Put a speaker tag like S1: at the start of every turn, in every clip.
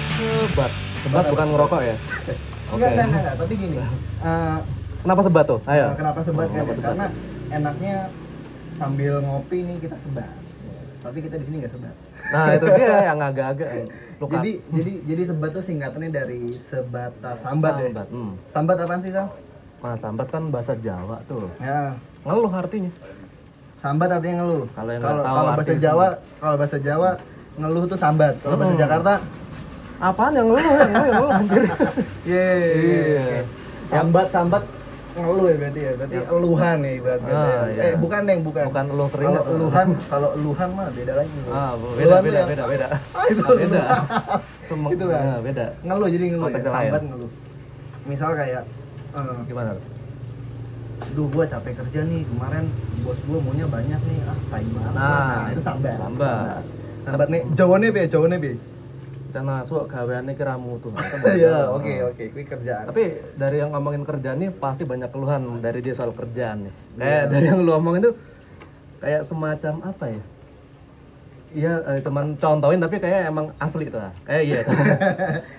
S1: sebat sebat bukan ngerokok ya oke
S2: Enggak, enggak, enggak, enggak, tapi gini. eh,
S1: kenapa sebat tuh ayo
S2: Nah, kenapa sebat kan?
S1: Kenapa
S2: ya? Karena enaknya sambil ngopi nih kita sebat. Ya, Tapi kita di sini nggak sebat.
S1: nah itu dia yang agak-agak eh, luka
S2: Jadi jadi jadi sebat tuh singkatannya dari sebatas sambat,
S1: Sambat,
S2: ya.
S1: hmm.
S2: Sambat apaan sih, Sal?
S1: nah sambat kan bahasa Jawa tuh
S2: Ya,
S1: ngeluh artinya
S2: sambat artinya ngeluh.
S1: Kalau yang
S2: Kalau
S1: nggak tahu
S2: kalau bahasa
S1: arti
S2: Jawa, kalau bahasa Jawa ngeluh tuh sambat. Kalau bahasa
S1: Hmm.
S2: Jakarta,
S1: apaan yang ngeluh yang ngeluh yang ngeluh anjir
S2: ye.
S1: Iya.
S2: oke. Sambat sambat ngeluh ya berarti ya. Berarti eluhan ya ibarat kata ya.
S1: Ah, iya.
S2: Eh, bukan, Neng, bukan.
S1: bukan eluh keringat
S2: Kalau eluhan, kalau eluhan mah beda lagi.
S1: ah bu- beda
S2: Eluhan tuh
S1: beda
S2: yang-
S1: beda beda
S2: Ah, itu
S1: Ah, beda itu meng-
S2: Gitu lah.
S1: nah, beda
S2: ngeluh jadi ngeluh ya,
S1: Konteksnya
S2: sambat
S1: lain.
S2: ngeluh misal kayak eh,
S1: gimana
S2: duh gua capek kerja nih kemarin bos gua maunya banyak nih ah tai banget
S1: Nah,
S2: itu sambat Nah,
S1: sambat.
S2: sambat nih jawabannya be jawabannya be
S1: karena suka gaweannya kiramu tuh
S2: ya oke oke kuy kerjaan
S1: Tapi dari yang ngomongin kerjaan nih pasti banyak keluhan dari dia soal kerjaan nih.
S2: Iya.
S1: Kayak dari yang lu ngomongin tuh kayak semacam apa ya? Iya eh, teman contohin tapi kayak emang asli tuh lah. Kayak iya.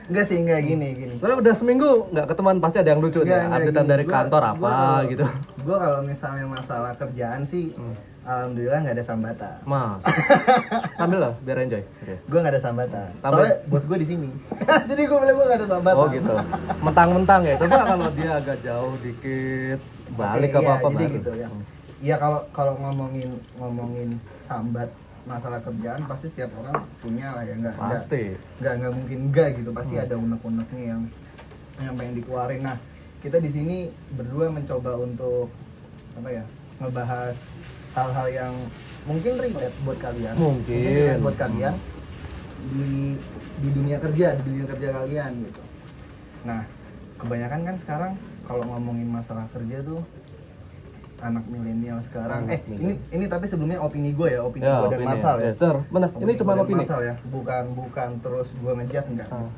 S2: enggak sih enggak gini gini
S1: Soalnya udah seminggu nggak ketemuan pasti ada yang lucu
S2: Nggak,
S1: nih.
S2: nggak,
S1: Updatean
S2: gini.
S1: dari
S2: Gua-
S1: kantor
S2: gua
S1: apa
S2: kalau-
S1: gitu.
S2: gua kalau misalnya masalah kerjaan sih
S1: Hmm.
S2: alhamdulillah nggak ada sambatan
S1: Mas. Sambil lah biar enjoy. Oke.
S2: gua nggak ada sambatan
S1: Tambah-
S2: soalnya bos gua di sini jadi gua bilang gua nggak ada sambatan
S1: Oh gitu. Mentang-mentang ya. Coba kalau dia agak jauh dikit balik
S2: Oke,
S1: apa apa
S2: iya, jadi
S1: baru.
S2: gitu ya Iya kalau kalau ngomongin ngomongin sambat masalah kerjaan pasti setiap orang punya lah ya nggak nggak-
S1: Pasti.
S2: nggak nggak mungkin enggak gitu pasti
S1: Hmm.
S2: ada unek-uneknya yang yang pengen dikeluarin nah kita di sini berdua mencoba untuk apa ya ngebahas hal-hal yang mungkin relate buat kalian
S1: Mungkin.
S2: relate buat kalian di di dunia kerja di dunia kerja kalian gitu nah kebanyakan kan sekarang kalau ngomongin masalah kerja tuh anak milenial sekarang
S1: Anak
S2: eh ini ini tapi sebelumnya opini gue ya opini
S1: Ya,
S2: gue dan
S1: opini.
S2: Marsal ya
S1: Ya, ter. Benar. Ini cuma
S2: gua dan
S1: opini.
S2: Marsal ya bukan bukan terus gue ngejat enggak
S1: Ah.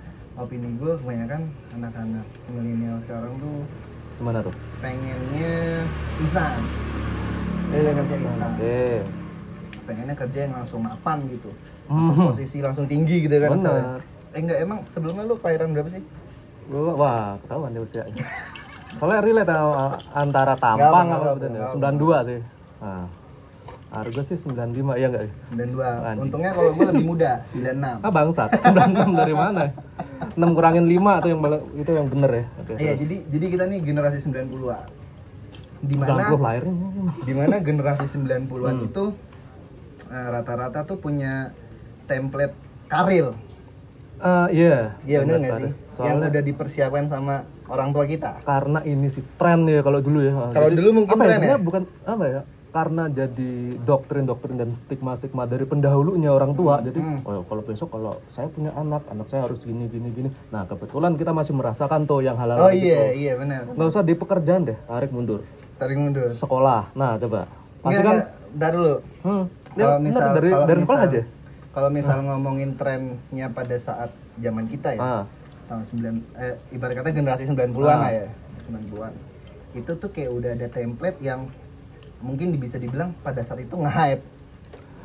S2: opini gue kebanyakan anak-anak milenial sekarang tuh
S1: Gimana tuh?
S2: pengennya instan
S1: Ah,
S2: pengennya kerja instan
S1: Oke.
S2: pengennya kerja yang langsung mapan gitu
S1: Hmm.
S2: posisi langsung tinggi gitu kan
S1: Bener.
S2: misalnya. eh enggak emang sebelumnya lu kelahiran berapa sih
S1: Gua- Wah, ketahuan deh usianya. Soalnya relate sama- antara
S2: Nggak
S1: tampang
S2: apa,
S1: apa
S2: nggak
S1: gitu
S2: apa,
S1: ya.
S2: nggak
S1: 92 sih. Nah. Argo sih 95 ya enggak?
S2: 92
S1: Anjing.
S2: untungnya kalau gue lebih muda 96
S1: Ah bangsat, 96 dari mana? 6 kurangin 5 tuh yang balik- itu yang bener ya. Oke.
S2: Iya, jadi jadi kita nih generasi 90-an. Di mana
S1: Ganggu lahirnya.
S2: di mana generasi 90-an
S1: Hmm.
S2: itu eh, rata-rata tuh punya template karir.
S1: Eh iya.
S2: Iya benar
S1: Bener
S2: nggak sih?
S1: tadi.
S2: Yang
S1: Soalnya
S2: udah dipersiapkan sama orang tua kita.
S1: karena ini sih tren ya kalau dulu ya.
S2: Kalau
S1: Jadi,
S2: dulu mungkin
S1: apa
S2: tren ya?
S1: sebenarnya bukan apa ya? Karena jadi doktrin-doktrin dan stigma-stigma dari pendahulunya orang tua.
S2: Hmm.
S1: Jadi oh, kalau besok kalau saya punya anak, anak saya harus gini gini gini. Nah, kebetulan kita masih merasakan tuh yang halal
S2: Oh iya, iya benar.
S1: Nggak usah di pekerjaan deh, tarik mundur.
S2: Tarik mundur.
S1: Sekolah. Nah, coba. Pasti kan
S2: Enggak, enggak, entar dulu.
S1: hmm,
S2: Iya. Kalau
S1: bener,
S2: misal
S1: dari
S2: kalau
S1: dari sekolah
S2: misal-
S1: aja.
S2: Kalau misal ngomongin trennya pada saat zaman kita ya.
S1: Ah,
S2: tahun 9 eh ibarat kata generasi 90-an lah ya. 90-an. Itu tuh kayak udah ada template yang mungkin bisa dibilang pada saat itu nge-hype.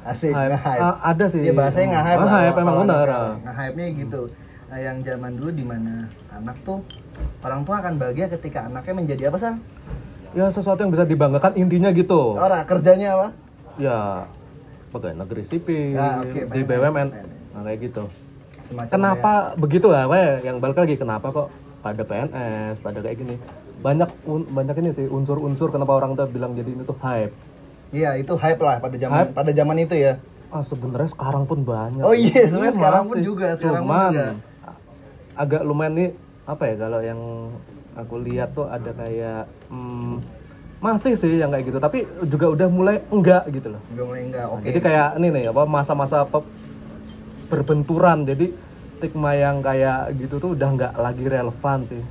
S2: Asik
S1: hype.
S2: Iya, nge-hype.
S1: Ah, ada sih. Ah,
S2: Ya bahasanya nge-hype. lah,
S1: Nge-hype, emang Hmm.
S2: kalau
S1: benar.
S2: sekarang. Nge-hype-nya gitu. Nah, yang zaman dulu di mana anak tuh orang tua akan bahagia ketika anaknya menjadi apa, San?
S1: Ya sesuatu yang bisa dibanggakan intinya gitu.
S2: Orang kerjanya apa?
S1: ya pegawai negeri sipil
S2: Ah, oke,
S1: di
S2: PNS,
S1: BUMN
S2: PNS.
S1: nah, kayak gitu
S2: Semacam
S1: kenapa begitu lah Pak? yang balik lagi kenapa kok pada PNS pada kayak gini banyak un- banyak ini sih unsur-unsur kenapa orang tuh bilang jadi ini tuh hype
S2: Iya, itu hype lah pada zaman pada zaman itu ya.
S1: ah sebenarnya sekarang pun banyak
S2: Oh iya, sebenarnya
S1: Iya,
S2: sekarang pun
S1: masih.
S2: juga, sekarang pun
S1: cuman
S2: juga.
S1: a- agak lumayan nih apa ya kalau yang aku lihat tuh ada kayak hmm, masih sih yang kayak gitu tapi juga udah mulai enggak gitu loh
S2: Gue mulai enggak. Oke.
S1: Jadi kayak ini nih apa masa-masa pe- berbenturan. Jadi stigma yang kayak gitu tuh udah nggak lagi relevan sih.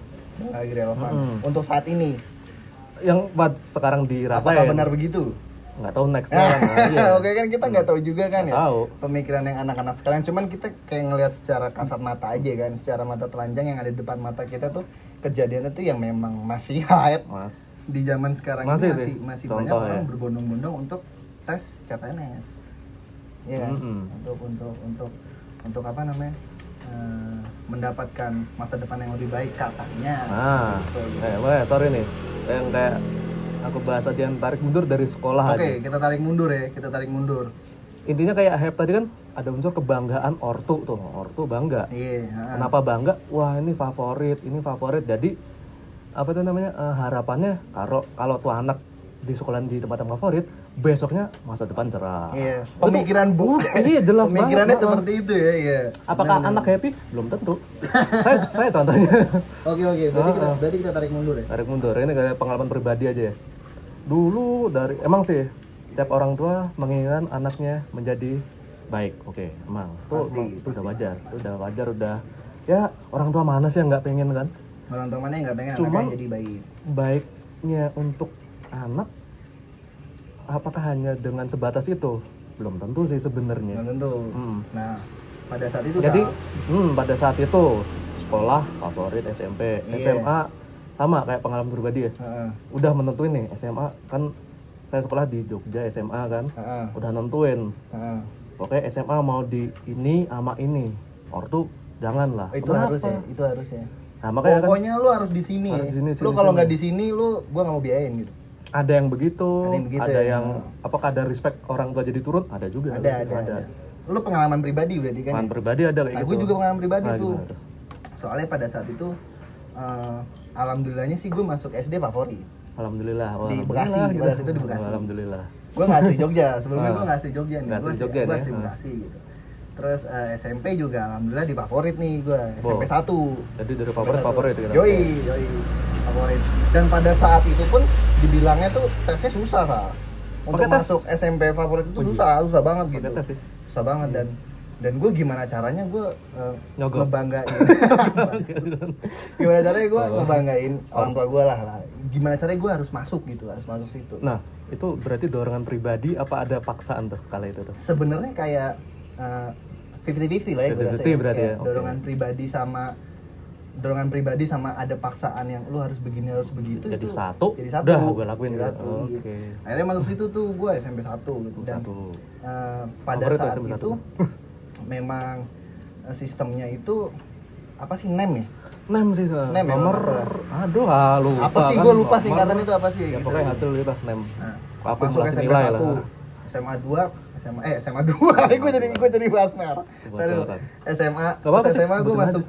S2: Lagi relevan.
S1: Hmm.
S2: Untuk saat ini,
S1: Yang buat sekarang
S2: apakah
S1: dirasain
S2: benar begitu?
S1: nggak tahu next time. Nah, iya. Ah,
S2: Oke kan kita nggak tahu juga kan ya
S1: Nggak tahu.
S2: pemikiran yang anak-anak sekalian. Cuman kita kayak ngelihat secara kasat mata aja kan, secara mata telanjang yang ada di depan mata kita tuh kejadiannya tuh yang memang masih hype
S1: Mas.
S2: di zaman sekarang ini
S1: Masih
S2: masih
S1: sih,
S2: masih, banyak
S1: contoh
S2: orang
S1: ya.
S2: berbondong-bondong untuk tes CPNS. Iya kan?
S1: Mm-mm.
S2: Untuk untuk untuk untuk apa namanya? eh, mendapatkan masa depan yang lebih baik katanya.
S1: Nah, eh, makanya sorry nih, yang kayak aku bahas aja yang tarik mundur dari sekolah
S2: Oke,
S1: aja.
S2: kita tarik mundur ya, kita tarik mundur.
S1: Intinya kayak hype tadi kan ada unsur kebanggaan ortu tuh, ortu bangga.
S2: Iya. heeh.
S1: Kenapa bangga? Wah ini favorit, ini favorit. Jadi apa itu namanya eh, harapannya kalau kalau tuh anak di sekolah di tempat yang favorit, besoknya masa depan cerah.
S2: Iya, pemikiran bu.
S1: Iya jelas banget.
S2: Pemikirannya seperti itu ya, iya.
S1: Apakah anak happy? Belum tentu. saya saya contohnya.
S2: Oke oke, berarti
S1: Ah,
S2: kita berarti kita tarik mundur ya.
S1: tarik mundur ini kayak pengalaman pribadi aja ya dulu dari emang sih setiap orang tua menginginkan anaknya menjadi baik oke emang tuh
S2: Pasti,
S1: emang, itu udah wajar itu udah wajar udah ya orang tua mana sih yang nggak pengen kan
S2: Orang tua mana yang nggak pengen
S1: Cuman- Hmm.
S2: anaknya jadi baik?
S1: baiknya untuk anak apakah hanya dengan sebatas itu belum tentu sih sebenarnya
S2: Nggak tentu.
S1: Hmm.
S2: Nah, pada saat itu
S1: jadi
S2: Sal,
S1: hmm, pada saat itu sekolah favorit SMP
S2: Iya.
S1: SMA sama kayak pengalaman pribadi ya
S2: heeh,
S1: udah menentuin nih SMA kan saya sekolah di Jogja SMA kan
S2: heeh,
S1: udah nentuin
S2: heeh.
S1: oke SMA mau di ini ama ini ortu jangan lah
S2: itu
S1: Kenapa?
S2: harus ya, itu harus ya.
S1: nah makanya kan
S2: Pokoknya lu harus di sini.
S1: Harus di sini,
S2: lu
S1: sini,
S2: kalau
S1: sini.
S2: nggak di sini, lu gua nggak mau biayain gitu.
S1: ada yang begitu
S2: Ada yang begitu
S1: ada
S2: ya?
S1: yang apakah ada respect orang tua jadi turun Iya, ada juga
S2: Ada, ada, ada. Lu pengalaman pribadi berarti kan?
S1: Pengalaman pribadi ada kayak
S2: Nah,
S1: gitu
S2: gue juga pengalaman pribadi
S1: Nah,
S2: tuh.
S1: gimana tuh?
S2: Soalnya pada saat itu, eh, alhamdulillahnya sih gue masuk SD favorit.
S1: alhamdulillah wah,
S2: Di Bekasi,
S1: alhamdulillah
S2: pada saat itu di Bekasi.
S1: alhamdulillah
S2: Gue nggak asli Jogja, sebelumnya
S1: Ah.
S2: gue nggak asli Jogja nih.
S1: Nggak
S2: Gue
S1: asli
S2: asli,
S1: Jogja
S2: gua
S1: nih,
S2: asli
S1: ah.
S2: Bekasi gitu. Terus eh, SMP juga alhamdulillah di favorit nih gue, SMP
S1: Bo.
S2: 1.
S1: jadi dari favorit
S2: Satu.
S1: favorit gitu
S2: Yoi, yoi. Favorit. Dan pada saat itu pun dibilangnya tuh tesnya susah, Sal. Untuk
S1: Pakai tes. Oh, iya.
S2: masuk SMP favorit itu susah, susah banget gitu.
S1: Pakai tes sih. Iya.
S2: Susah banget dan dan gue gimana caranya gue eh,
S1: Nyogok.
S2: ngebanggain gimana caranya gue ngebanggain orang tua gue lah, lah gimana caranya gue harus masuk gitu harus masuk situ
S1: nah itu berarti dorongan pribadi apa ada paksaan tuh kala itu tuh
S2: sebenarnya kayak fifty fifty lah ya gue
S1: 50-50 berarti ya, oke.
S2: dorongan pribadi sama dorongan pribadi sama ada paksaan yang lu harus begini harus begitu
S1: Jadi
S2: itu
S1: satu,
S2: jadi satu
S1: udah, gua lakuin gitu.
S2: jadi satu, iya.
S1: Oke.
S2: akhirnya masuk situ tuh gue SMP satu gitu dan
S1: satu
S2: eh, pada
S1: Favorit tuh
S2: saat
S1: SMP
S2: itu memang eh, sistemnya itu apa sih nem ya
S1: Nem sih, Kak.
S2: Nem ya,
S1: nomor
S2: kalau nggak
S1: aduh ah, lupa
S2: apa sih
S1: kan.
S2: gue lupa sih
S1: Nomor-
S2: kata itu apa sih
S1: ya
S2: gitu.
S1: pokoknya hasil itu nem
S2: Nah,
S1: akumulasi nilai lah.
S2: SMA 2, SMA eh SMA 2. gue jadi gue jadi bahas merah. Aduh.
S1: Bocoran.
S2: SMA,
S1: Gak apa-apa
S2: pas
S1: sih,
S2: SMA gue
S1: sebutin aja
S2: masuk Nah,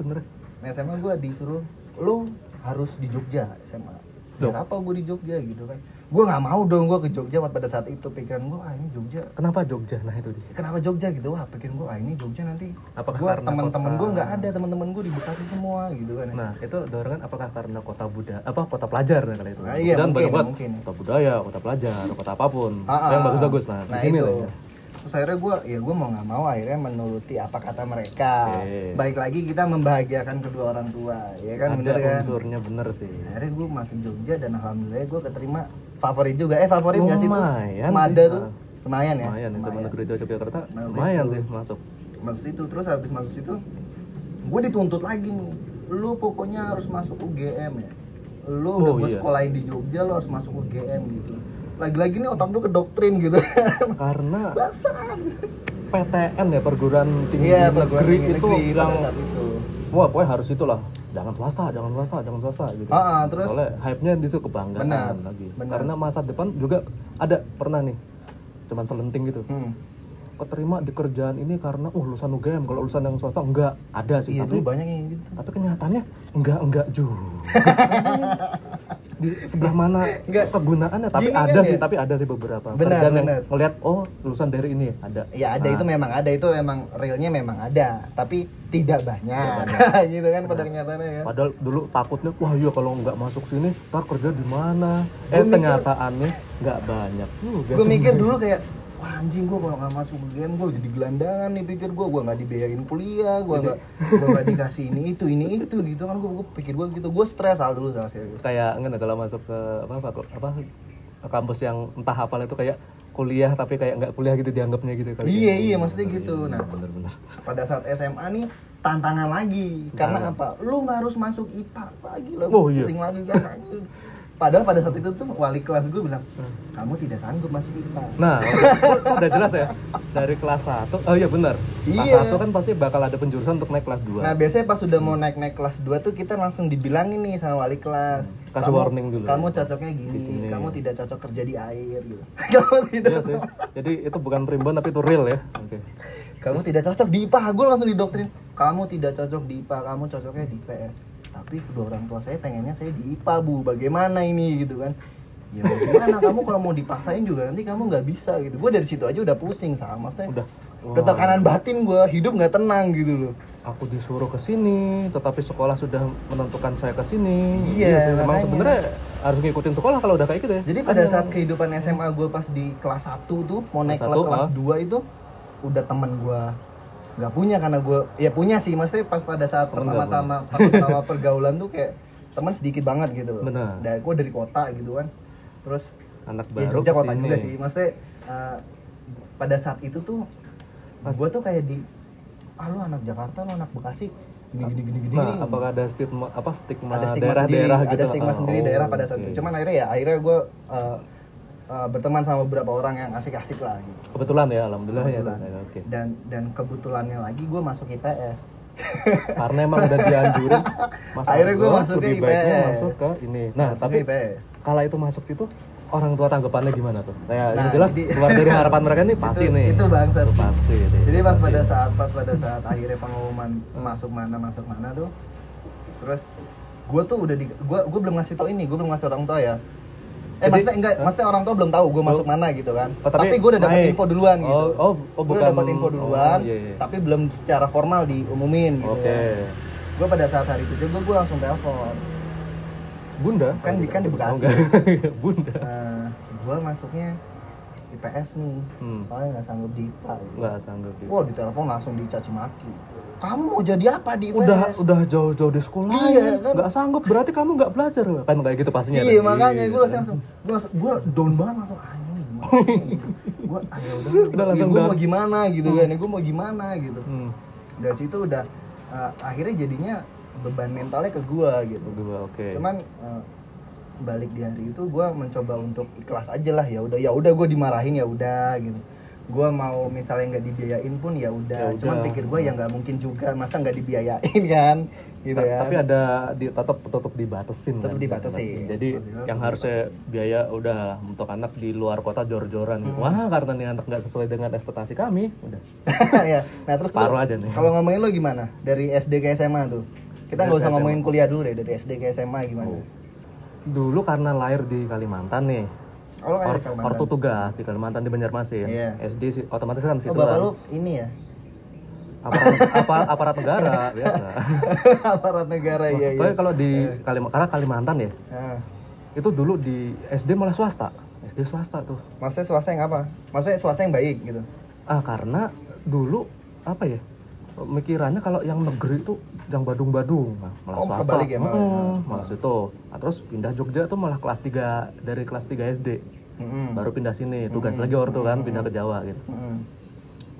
S1: sebenarnya.
S2: SMA gue disuruh lu harus di Jogja SMA.
S1: Loh.
S2: Kenapa gue di Jogja gitu kan? Gue nggak mau dong gue ke Jogja pada saat itu pikiran gue ah ini Jogja
S1: kenapa Jogja nah itu dia
S2: kenapa Jogja gitu wah pikiran gue ah ini Jogja nanti
S1: Apakah
S2: gue
S1: karena
S2: teman-teman
S1: kota?
S2: gue nggak ada teman-teman gue di Bekasi semua gitu kan
S1: nah itu dorongan apakah karena kota budaya apa kota pelajar nah kali itu
S2: Ah, iya,
S1: Dan
S2: mungkin,
S1: banyak banget
S2: mungkin.
S1: kota budaya kota pelajar kota apapun
S2: Ah,
S1: yang
S2: ah,
S1: bagus-bagus nah, di sini
S2: itu.
S1: lah ya.
S2: Terus akhirnya gue, ya gue mau nggak mau akhirnya menuruti apa kata mereka.
S1: Oke.
S2: Baik lagi kita membahagiakan kedua orang tua, ya kan
S1: ada
S2: bener kan? iya,
S1: unsurnya bener sih
S2: Akhirnya gue masuk Jogja dan alhamdulillah gue keterima favorit juga. Eh favorit nggak sih tuh?
S1: Lumayan
S2: Semada
S1: sih,
S2: tuh,
S1: ah.
S2: lumayan ya.
S1: lumayan itu negeri itu Yogyakarta
S2: Nah,
S1: lumayan
S2: itu.
S1: sih masuk
S2: Masuk situ terus habis masuk situ, gue dituntut lagi nih. Lu pokoknya harus masuk UGM ya. Lu udah
S1: Oh,
S2: gue
S1: iya.
S2: sekolahin di Jogja, lu harus masuk UGM gitu. Lagi-lagi nih otak lu ke doktrin gitu.
S1: karena
S2: Basah.
S1: PTN ya perguruan tinggi
S2: Iya, perguruan
S1: negeri
S2: tinggi
S1: itu
S2: negeri pada
S1: yang
S2: saat itu.
S1: wah pokoknya harus itulah jangan swasta jangan swasta jangan swasta gitu
S2: Ah, ah, terus
S1: Soalnya hype-nya di situ kebanggaan
S2: Benar,
S1: lagi.
S2: benar.
S1: Karena masa depan juga ada pernah nih. Cuman selenting gitu.
S2: Hmm.
S1: Keterima di kerjaan ini karena uh lulusan UGM, kalau lulusan yang swasta enggak ada sih.
S2: Iya,
S1: tapi
S2: dulu banyak yang gitu.
S1: tapi kenyataannya enggak enggak juga. di sebelah mana
S2: Enggak.
S1: kegunaannya tapi
S2: Gini kan
S1: ada sih,
S2: ya?
S1: tapi ada sih beberapa
S2: Benar,
S1: kerjaan yang
S2: benar.
S1: ngelihat oh lulusan dari ini ada.
S2: Ya ada itu memang ada itu emang realnya memang ada, tapi tidak banyak. gitu kan pada kenyataannya kan.
S1: Padahal dulu takutnya wah iya kalau nggak masuk sini ntar kerja di mana.
S2: Gua
S1: Eh
S2: mikir-
S1: kenyataannya nggak banyak. juga
S2: Gue
S1: sih.
S2: mikir dulu kayak Wah, anjing gue kalau nggak masuk game gue jadi gelandangan nih pikir gue gue nggak dibiayain kuliah gue nggak gue nggak dikasih ini itu ini itu gitu kan gue pikir gue gitu gue stres al dulu sama serius
S1: kayak enggak kalau masuk ke apa faku- apa kampus yang entah hafal itu kayak kuliah tapi kayak nggak kuliah gitu dianggapnya gitu kali
S2: iya iya maksudnya gitu nah
S1: bener-bener
S2: pada saat SMA nih tantangan lagi karena apa lu harus masuk IPA lagi lah
S1: Oh, iya.
S2: pusing lagi kan anjing. Padahal pada saat itu tuh wali kelas gue bilang,
S1: Hmm.
S2: kamu tidak sanggup masuk IPA.
S1: Nah, oke. udah jelas ya. Dari kelas 1. Oh iya benar. Kelas
S2: Iya.
S1: 1 kan pasti bakal ada penjurusan untuk naik kelas 2.
S2: Nah biasanya pas sudah mau naik-naik kelas 2 tuh kita langsung dibilangin nih sama wali kelas
S1: Kasih
S2: kamu,
S1: warning dulu.
S2: Kamu cocoknya gini,
S1: Di sini.
S2: kamu tidak cocok kerja di air gitu Kamu tidak
S1: Iya sih. Jadi itu bukan primbon tapi itu real ya. Oke.
S2: kamu tidak cocok di IPA, gue langsung didoktrin Kamu tidak cocok di IPA, kamu cocoknya di IPS Tapi kedua orang tua saya pengennya saya di IPA bu, bagaimana ini gitu kan Ya bagaimana, kamu kalau mau dipaksain juga nanti kamu nggak bisa gitu Gue dari situ aja udah pusing sama maksudnya
S1: Udah.
S2: Udah tekanan batin gue, hidup nggak tenang gitu loh
S1: Aku disuruh ke sini, tetapi sekolah sudah menentukan saya ke sini.
S2: Iya,
S1: sih, memang
S2: makanya.
S1: sebenarnya harus ngikutin sekolah kalau udah kayak gitu ya.
S2: Jadi pada
S1: Kan
S2: saat
S1: yang-
S2: kehidupan SMA gue pas di kelas 1 tuh mau naik
S1: Kelas
S2: ke
S1: satu,
S2: kelas
S1: ah.
S2: 2 itu udah temen gue nggak punya karena gue ya punya sih maksudnya pas pada saat
S1: Temen nggak
S2: pertama-tama pertama pergaulan tuh kayak teman sedikit banget gitu loh.
S1: Benar.
S2: Dan gue dari kota gitu kan. Terus
S1: anak
S2: ya
S1: baru
S2: Jogja
S1: ke
S2: kota
S1: sini.
S2: juga sih. Maksudnya eh, pada saat itu tuh
S1: Pas-
S2: gue tuh kayak di ah lu anak Jakarta lu anak Bekasi gini gini gini gini.
S1: Nah, apakah ada stigma apa stigma
S2: ada stigma sendiri,
S1: daerah-daerah gitu?
S2: ada stigma
S1: Ah,
S2: sendiri
S1: oh,
S2: daerah pada saat
S1: oke.
S2: itu. Cuman akhirnya ya akhirnya gue berteman sama beberapa orang yang asik-asik lah. Gitu.
S1: kebetulan ya, alhamdulillah, ya.
S2: Kebetulan.
S1: Oke.
S2: Dan dan kebetulannya lagi gue masuk IPS.
S1: Karena emang udah dianjurin. Mas
S2: Akhirnya gua
S1: Argo,
S2: masuk ke
S1: lebih baiknya
S2: IPS.
S1: masuk ke ini. Nah,
S2: Masuk
S1: tapi
S2: IPS.
S1: kala itu masuk situ orang tua tanggapannya gimana tuh? Kayak yang
S2: Nah,
S1: jelas
S2: jadi-
S1: keluar dari harapan mereka nih pasti
S2: itu,
S1: nih.
S2: Itu bangsa.
S1: pasti. nih,
S2: Jadi pas
S1: pasti.
S2: pada saat pas pada saat akhirnya pengumuman masuk mana masuk mana tuh, terus gue tuh udah di gue gue belum ngasih tau ini gue belum ngasih orang tua ya. Eh
S1: Jadi-
S2: maksudnya enggak, maksudnya orang tua belum tahu gue masuk mana gitu kan.
S1: Oh,
S2: tapi gue udah dapat
S1: naik.
S2: info duluan
S1: oh,
S2: gitu.
S1: Oh, oh,
S2: gue
S1: bukan.
S2: udah dapat info duluan,
S1: Oh, iya, iya.
S2: tapi belum secara formal diumumin gitu.
S1: Oke.
S2: Gue pada saat hari itu juga gue langsung telepon.
S1: Bunda?
S2: Kan di- kan di Bekasi.
S1: Oh, enggak. Bunda.
S2: Nah, gue masuknya IPS nih,
S1: Hmm.
S2: soalnya nggak sanggup di IPA. Gitu.
S1: Enggak sanggup. gitu.
S2: Wah, di telepon langsung dicaci maki. Kamu mau jadi apa di IPS?
S1: Udah udah jauh-jauh di sekolah. ya?
S2: Iya, kan?
S1: Enggak sanggup berarti kamu enggak belajar. Kan kayak gitu pastinya.
S2: Iya
S1: kan?
S2: makanya gue
S1: kan?
S2: langsung gue gue down banget langsung anjing gue ayo
S1: Udah
S2: "Ah, ya udah
S1: langsung
S2: gue
S1: down.
S2: mau gimana gitu kan gue mau gimana gitu
S1: Hmm.
S2: dari situ udah eh, akhirnya jadinya beban mentalnya ke gue gitu
S1: Dua, oke.
S2: cuman eh, balik di hari itu gue mencoba untuk ikhlas aja lah ya udah ya udah gue dimarahin ya udah gitu gue mau misalnya nggak dibiayain pun ya
S1: Ya
S2: udah cuman
S1: udah.
S2: pikir gue ya nggak mungkin juga masa nggak dibiayain kan gitu
S1: Ta-
S2: kan
S1: Tapi ada di tetap tetap dibatasin kan, gitu
S2: Tetap dibatasin.
S1: Jadi
S2: Maksudnya
S1: yang
S2: tetap
S1: harusnya biaya udah untuk anak di luar kota jor-joran
S2: Hmm.
S1: gitu. Wah, karena nih anak nggak sesuai dengan ekspektasi kami, udah.
S2: ya nah terus lu,
S1: Separuh aja nih.
S2: kalau ngomongin lo gimana dari SD ke SMA tuh kita nggak usah ngomongin kuliah dulu deh dari SD ke SMA
S1: Oh.
S2: gimana
S1: Dulu karena lahir di Kalimantan nih.
S2: kalau kayak
S1: Or,
S2: rekaman
S1: ortu tugas di Kalimantan di Banjarmasin.
S2: Iya.
S1: SD sih otomatis kan
S2: oh
S1: situ
S2: bapak
S1: kan.
S2: lu ini ya
S1: Aparat, apa- aparat negara biasa.
S2: aparat negara ya ya
S1: Tapi kalau di Kalimantan karena Kalimantan ya,
S2: nah,
S1: itu dulu di SD malah swasta. SD swasta tuh.
S2: maksudnya swasta yang apa maksudnya swasta yang baik gitu
S1: Ah karena dulu apa ya? Mikirannya kalau yang negeri itu yang Badung-Badung, nah, malah
S2: Oh,
S1: swasta.
S2: kebalik ya, malah.
S1: Mm, malah situ. Nah, terus pindah Jogja tuh malah kelas 3 dari kelas 3 SD.
S2: Mm-mm.
S1: Baru pindah sini, tugas lagi ortu kan pindah ke Jawa gitu.
S2: Mm-mm.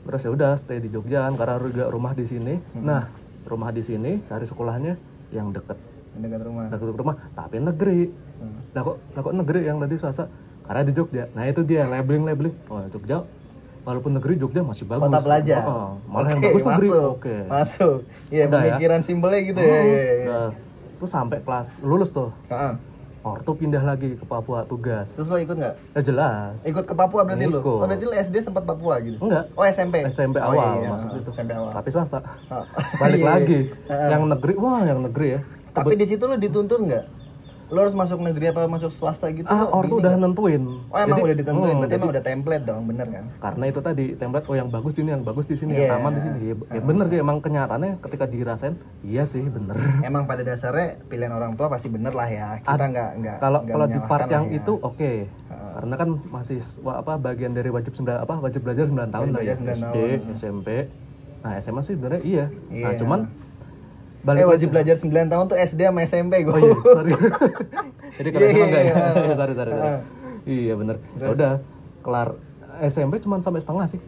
S1: Terus ya udah stay di Jogja kan karena juga rumah di sini. Nah, rumah di sini cari sekolahnya yang deket
S2: Yang dekat rumah
S1: deket rumah tapi negeri
S2: Hmm.
S1: lah kok lah kok negeri yang tadi swasta karena di Jogja nah itu dia labeling labeling oh Jogja walaupun negeri Jogja masih bagus
S2: kota pelajar
S1: Oh, oh. malah yang
S2: Oke,
S1: bagus negeri
S2: masuk
S1: oke
S2: masuk iya
S1: Udah ya?
S2: pemikiran simpelnya gitu ya, ya, ya, ya.
S1: Nah, terus sampai kelas lulus tuh
S2: Ah,
S1: ortu pindah lagi ke Papua tugas
S2: terus lo ikut nggak
S1: ya jelas
S2: ikut ke Papua berarti lo
S1: Ikut.
S2: oh berarti lo SD sempat Papua gitu
S1: enggak
S2: oh SMP
S1: SMP
S2: Oh,
S1: awal
S2: iya,
S1: maksud
S2: iya.
S1: itu
S2: SMP awal
S1: tapi swasta
S2: Ah.
S1: balik
S2: Iya, iya.
S1: lagi yang negeri wah yang negeri ya
S2: Tapi di situ lo dituntut nggak? Lo harus masuk negeri apa masuk swasta gitu?
S1: ah
S2: lo
S1: ortu
S2: gini
S1: udah
S2: nggak?
S1: nentuin
S2: Oh emang
S1: Jadi-
S2: udah ditentuin,
S1: Hmm,
S2: berarti emang udah template dong, bener kan?
S1: karena itu tadi template oh yang bagus di sini yang bagus di sini yang
S2: Iya.
S1: aman di sini ya, ya bener sih emang kenyataannya ketika dirasain iya sih bener
S2: Emang pada dasarnya pilihan orang tua pasti bener lah ya. Kita nggak nggak
S1: kalau
S2: nggak
S1: kalau di
S2: menyalahkan
S1: part
S2: lah
S1: yang
S2: ya. Ah.
S1: itu oke karena kan masih s- wa- apa bagian dari wajib sembilan apa wajib belajar 9 tahun lah ya
S2: belajar 9
S1: SD SMP nah SMA sih sebenarnya iya nah
S2: Iya.
S1: cuman
S2: Eh
S1: balik
S2: wajib belajar 9 tahun tuh SD sama SMP gue.
S1: oh iya sorry jadi keren
S2: Iya,
S1: sama
S2: iya,
S1: enggak ya
S2: iya, iya.
S1: sorry sorry, sorry. iya bener Ya udah kelar SMP cuman sampai setengah sih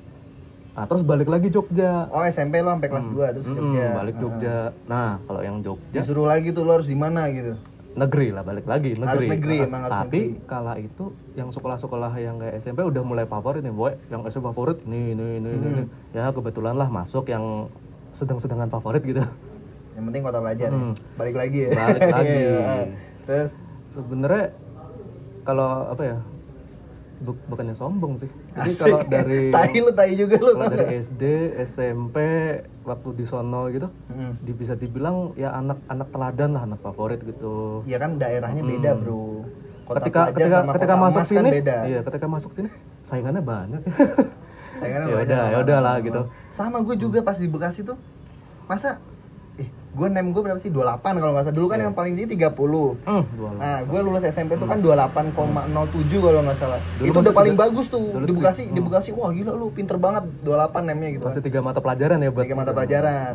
S1: nah terus balik lagi Jogja
S2: Oh SMP lo
S1: Hmm.
S2: sampai kelas 2 terus
S1: Mm-mm,
S2: kerja.
S1: balik Jogja. Nah, kalau yang Jogja
S2: Disuruh lagi tuh lo harus di mana gitu.
S1: negeri lah balik lagi negeri.
S2: Harus negeri,
S1: Nah,
S2: emang harus
S1: Tapi
S2: negeri.
S1: kala itu yang sekolah-sekolah yang kayak SMP udah mulai favorit nih, boy. Yang SMP favorit nih nih nih nih, nih. Ya kebetulan lah masuk yang sedang-sedangan favorit gitu.
S2: yang penting kota pelajar ya.
S1: Hmm.
S2: balik lagi ya
S1: Balik lagi.
S2: Iya. terus
S1: Sebenarnya kalau apa ya? bu- bukannya sombong sih. Jadi kalau
S2: asik ya.
S1: dari
S2: tai lu tai juga lu
S1: kalau dari SD, SMP, waktu di sono gitu,
S2: Hmm.
S1: di- bisa dibilang ya anak-anak teladan lah, anak favorit gitu.
S2: ya kan daerahnya beda bro
S1: Hmm.
S2: kota
S1: ketika
S2: pelajar
S1: ketika
S2: sama
S1: ketika
S2: kota
S1: masuk
S2: emas
S1: sini,
S2: kan beda
S1: iya ketika masuk sini saingannya banyak.
S2: Saingannya
S1: Ya
S2: banyak
S1: udah,
S2: sama
S1: ya udah lah,
S2: teman-teman.
S1: gitu.
S2: kan? sama gue juga pas di Bekasi tuh masa eh gue nem gue berapa sih 28 kalau nggak salah dulu kan
S1: Iya.
S2: yang paling tinggi 30
S1: Hmm, dua lah.
S2: Nah, gue lulus SMP tuh kan 28,07 kalau nggak salah.
S1: Dulu
S2: itu udah
S1: masih
S2: paling
S1: tiga-
S2: bagus tuh.
S1: dulu Hmm.
S2: Di
S1: tiga-
S2: Bekasi, di Bekasi, wah gila lu pinter banget 28 nemnya gitu.
S1: Masih tiga mata pelajaran ya buat Mm-hmm.
S2: Tiga mata pelajaran.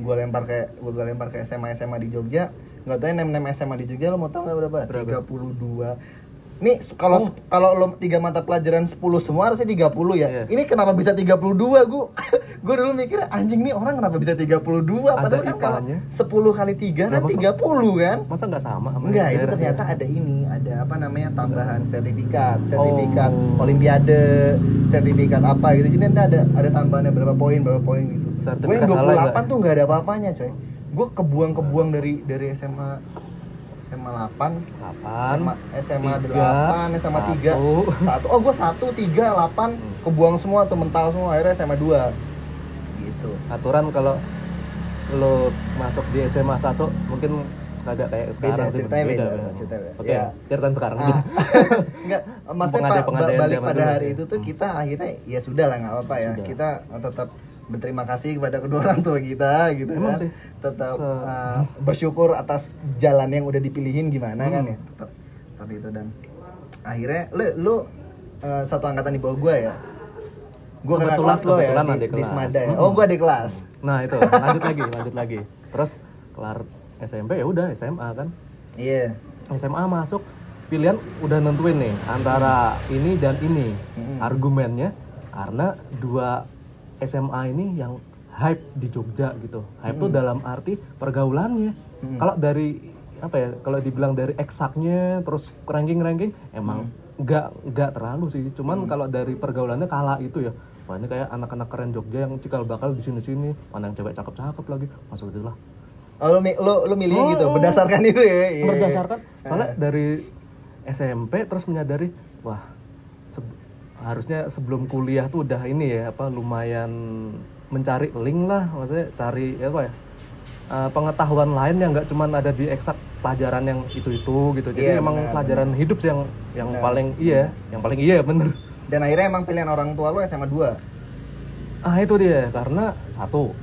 S2: Gue lempar ke gue lempar ke SMA SMA di Jogja. Nggak tahu ya, nem nem SMA di Jogja lo mau tau nggak berapa? 32. Nih s-
S1: Oh.
S2: kalau s- kalau lo tiga mata pelajaran 10 semua harusnya 30 ya.
S1: Iya.
S2: Ini kenapa bisa 32? Gue gue dulu mikir anjing nih orang kenapa bisa 32?
S1: Ada
S2: Padahal kan kalau
S1: IPA-nya.
S2: 10 kali 3 kan
S1: Berapa, Sob?
S2: 30 kan?
S1: Masa nggak sama sama
S2: Enggak,
S1: yang
S2: itu
S1: daerah?
S2: ternyata ada ini, ada apa namanya tambahan sertifikat, sertifikat
S1: Oh.
S2: olimpiade, sertifikat apa gitu. Jadi nanti ada ada tambahannya berapa poin, berapa poin gitu. Gue yang
S1: Sertifikat halal
S2: 28 tuh nggak ada apa-apanya, coy. Gue kebuang-kebuang dari dari SMA SMA 8
S1: Delapan,
S2: SMA, SMA
S1: tiga,
S2: 8, SMA 3,
S1: satu.
S2: 1. Oh, gue 1, 3, 8 kebuang semua tuh mental semua akhirnya SMA 2. Gitu.
S1: Aturan kalau lo masuk di SMA 1 mungkin kagak kayak sekarang sih.
S2: ceritanya
S1: beda,
S2: beda,
S1: beda.
S2: ceritanya beda.
S1: Oke,
S2: Ya.
S1: ceritain sekarang.
S2: Ah, enggak, maksudnya
S1: Pengadai-
S2: Pak, ba-
S1: pengadaian
S2: balik
S1: zaman
S2: pada
S1: dulu
S2: hari
S1: ya.
S2: itu tuh kita akhirnya ya sudah lah nggak apa-apa ya.
S1: Sudah.
S2: Kita tetap berterima kasih kepada kedua orang tua kita gitu
S1: Emang
S2: kan.
S1: sih.
S2: Tetap
S1: Se-
S2: uh, bersyukur atas jalan yang udah dipilihin gimana kan
S1: Hmm.
S2: ya. Tetap tapi itu dan akhirnya lu, lu uh, satu angkatan di bawah gua ya. Gua kakak
S1: Kebetulan-
S2: kelas lo ya
S1: kebetulan
S2: di,
S1: adik
S2: di
S1: kelas.
S2: Semada ya.
S1: Hmm.
S2: Oh, gua di kelas.
S1: Nah, itu lanjut lagi, lanjut lagi. Terus kelar SMP ya udah SMA kan.
S2: Iya.
S1: SMA masuk pilihan udah nentuin nih antara ini dan ini.
S2: Mm-mm.
S1: Argumennya karena dua SMA ini yang hype di Jogja gitu. Hype tuh dalam arti pergaulannya. Kalau dari apa ya? Kalau dibilang dari eksaknya terus ranking-ranking emang nggak nggak terlalu sih. Cuman kalau dari pergaulannya kalah itu ya. Wah ini kayak anak-anak keren Jogja yang cikal bakal di sini-sini, mana yang cewek cakep-cakep lagi, masuk situ lah.
S2: Oh, lu, mi- lu, lu milih gitu
S1: Oh.
S2: berdasarkan itu ya. Iya.
S1: berdasarkan soalnya dari SMP terus menyadari wah se- harusnya sebelum kuliah tuh udah ini ya apa lumayan mencari link lah maksudnya cari ya apa ya eh, pengetahuan lain yang nggak cuman ada di eksak pelajaran yang itu itu gitu jadi
S2: Iya,
S1: emang
S2: benar, Hmm.
S1: pelajaran hidup sih yang yang paling iya yang paling iya bener
S2: Dan akhirnya emang pilihan orang tua lu SMA 2.
S1: ah itu dia karena satu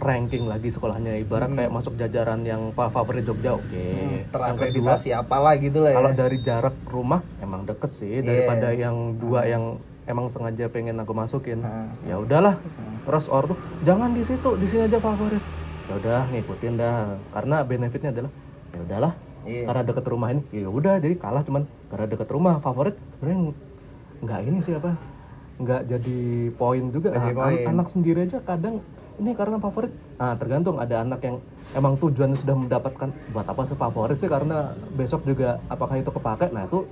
S1: ranking lagi sekolahnya
S2: Hmm.
S1: ibarat kayak masuk jajaran yang fa- favorit Jogja oke Iya. yang kedua
S2: terakreditasi apalah gitu lah ya. Iya.
S1: Kalau dari jarak rumah emang deket sih daripada yang dua yang emang sengaja pengen aku masukin.
S2: Ah.
S1: Ya udahlah. Terus ortu jangan di situ, di sini aja favorit. Ya udah ngikutin dah. Karena benefitnya adalah ya udahlah.
S2: Iya.
S1: Karena deket rumah ini, ya udah jadi kalah cuman karena deket rumah favorit sebenarnya nggak ini sih apa nggak jadi poin juga
S2: Nggak jadi
S1: Ah, an-
S2: poin.
S1: anak sendiri aja kadang ini karena favorit nah tergantung ada anak yang emang tujuannya sudah mendapatkan buat apa sih favorit sih karena besok juga apakah itu kepake nah itu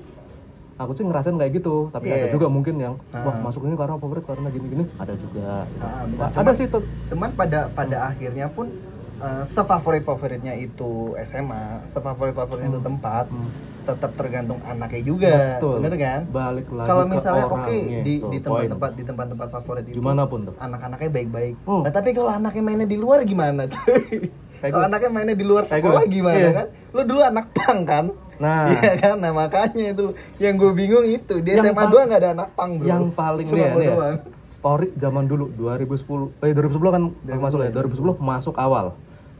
S1: aku sih ngerasain kayak gitu tapi ada
S2: Iya.
S1: juga mungkin yang wah masuk ini karena favorit karena gini-gini ada juga
S2: Ah, benar.
S1: Nah, ada
S2: Cuman-
S1: sih tet-
S2: Cuman pada pada akhirnya pun eh, sefavorit-favoritnya itu SMA, sefavorit-favoritnya itu tempat, tetap tergantung anaknya juga.
S1: Hmm. Betul.
S2: Bener kan?
S1: balik lagi
S2: Kalau
S1: ke
S2: misalnya oke
S1: orangnya.
S2: di
S1: Tuh, poin.
S2: di tempat-tempat di tempat-tempat favorit itu
S1: gimana pun tuh
S2: anak-anaknya baik-baik.
S1: Hmm.
S2: Nah, tapi kalau anaknya mainnya di luar gimana, cuy?
S1: Kayak
S2: Kalau
S1: gue.
S2: anaknya mainnya di luar
S1: Kayak
S2: sekolah
S1: gue.
S2: gimana
S1: Iya.
S2: kan? Lu dulu anak pang kan?
S1: nah
S2: Iya kan, nah makanya itu yang gue bingung itu di
S1: Yang
S2: SMA
S1: pang-
S2: 2 nggak ada anak pang bro.
S1: yang paling nih
S2: Cuma
S1: ya, nih
S2: gua
S1: ya,
S2: doang.
S1: story zaman dulu 2010 eh 2010 kan aku masuk ya 2010 masuk awal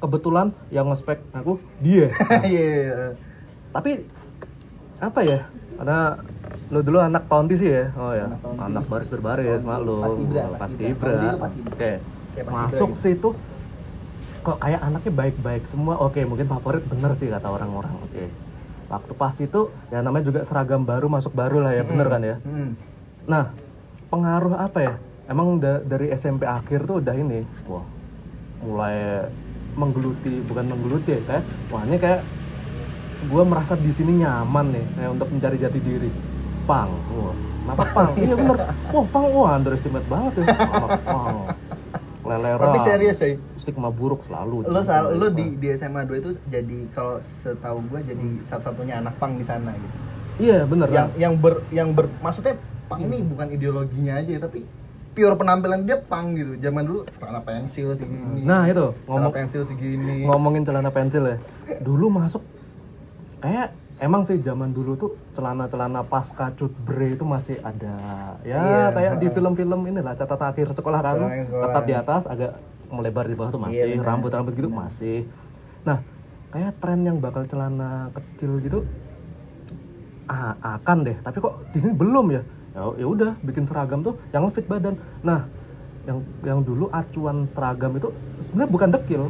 S1: kebetulan yang ngespek aku dia
S2: Iya.
S1: tapi apa ya karena lo dulu anak tonti sih ya oh ya
S2: Anak Tonti.
S1: anak baris berbaris maklum
S2: Pas Ibra, pas
S1: pas
S2: Ibra.
S1: Ibra.
S2: Tonti itu pas Ibra. gitu.
S1: oke
S2: Kayak pas
S1: masuk
S2: Ibra
S1: situ kok kayak anaknya baik-baik semua oke mungkin favorit bener sih kata orang-orang oke waktu pas itu ya namanya juga seragam baru masuk baru lah ya bener kan ya
S2: Hmm.
S1: Nah, pengaruh apa ya? Emang da- dari SMP akhir tuh udah ini, wah, mulai menggeluti, bukan menggeluti ya, kayak, wah ini kayak gue merasa di sini nyaman nih eh, untuk mencari jati diri pang wah kenapa pang iya bener wah pang wah underestimate banget ya anak pang leleran
S2: Tapi serius sih.
S1: stigma buruk selalu
S2: Lo sal, lo di di SMA 2 itu jadi kalau setahu gua jadi
S1: Hmm.
S2: satu-satunya anak pang di sana gitu.
S1: iya bener
S2: Yang yang ber yang ber maksudnya pang ini
S1: Hmm.
S2: bukan ideologinya aja tapi pure penampilan dia pang gitu. Zaman dulu celana pensil segini.
S1: nah itu
S2: celana
S1: ngomong
S2: pensil segini.
S1: ngomongin celana pensil ya dulu masuk kayak emang sih zaman dulu tuh celana-celana pasca cut bre itu masih ada ya
S2: Iya,
S1: kayak di film-film inilah catatan akhir sekolah kan
S2: Catatan akhir sekolah.
S1: ketat di atas agak melebar di bawah tuh masih
S2: Iya, benar.
S1: rambut-rambut gitu masih nah kayak tren yang bakal celana kecil gitu ah, akan deh tapi kok di sini belum ya ya ya udah bikin seragam tuh yang fit badan nah yang yang dulu acuan seragam itu sebenarnya bukan dekil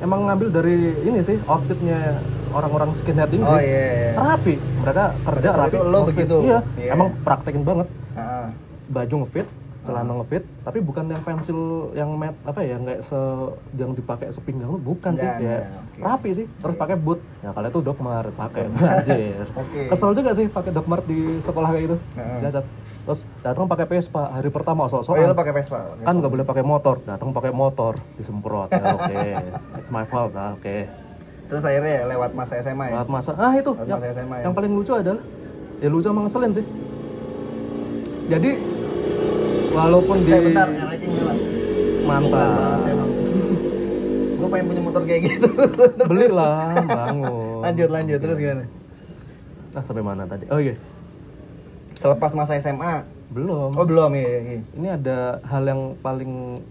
S1: emang ngambil dari ini sih outfitnya orang-orang skinhead Inggris
S2: Oh iya. iya.
S1: rapi mereka kerja
S2: saat
S1: rapi
S2: itu lo
S1: outfit.
S2: begitu.
S1: iya
S2: Iya.
S1: emang praktekin banget
S2: Ah,
S1: baju ngefit celana ngefit tapi bukan yang pensil yang mat apa ya nggak se yang dipakai sepinggang lu bukan
S2: Nggak,
S1: sih ya
S2: nggak, oke.
S1: rapi sih terus pakai boot ya kalian tuh dokmar pakai anjir
S2: Oke.
S1: kesel juga sih pakai dokmar di sekolah kayak gitu
S2: Heeh.
S1: Cacat. terus datang pakai Vespa hari pertama
S2: Oh iya lo
S1: sok-sokan
S2: pakai Vespa. pakai
S1: kan nggak boleh pakai motor datang pakai motor disemprot ya oke it's my fault nah, oke
S2: Terus akhirnya lewat masa SMA ya.
S1: Lewat masa ah itu
S2: Lewat
S1: yang,
S2: masa SMA ya.
S1: yang paling lucu adalah ya lucu sama ngeselin sih jadi walaupun di
S2: Saya Eh, bentar, ngarangin lewat.
S1: mantap
S2: Gue pengen punya motor kayak gitu.
S1: belilah bangun
S2: lanjut lanjut terus gimana?
S1: ah sampai mana tadi oh iya
S2: Selepas masa SMA.
S1: belum
S2: Oh belum iya. iya, iya.
S1: ini ada hal yang paling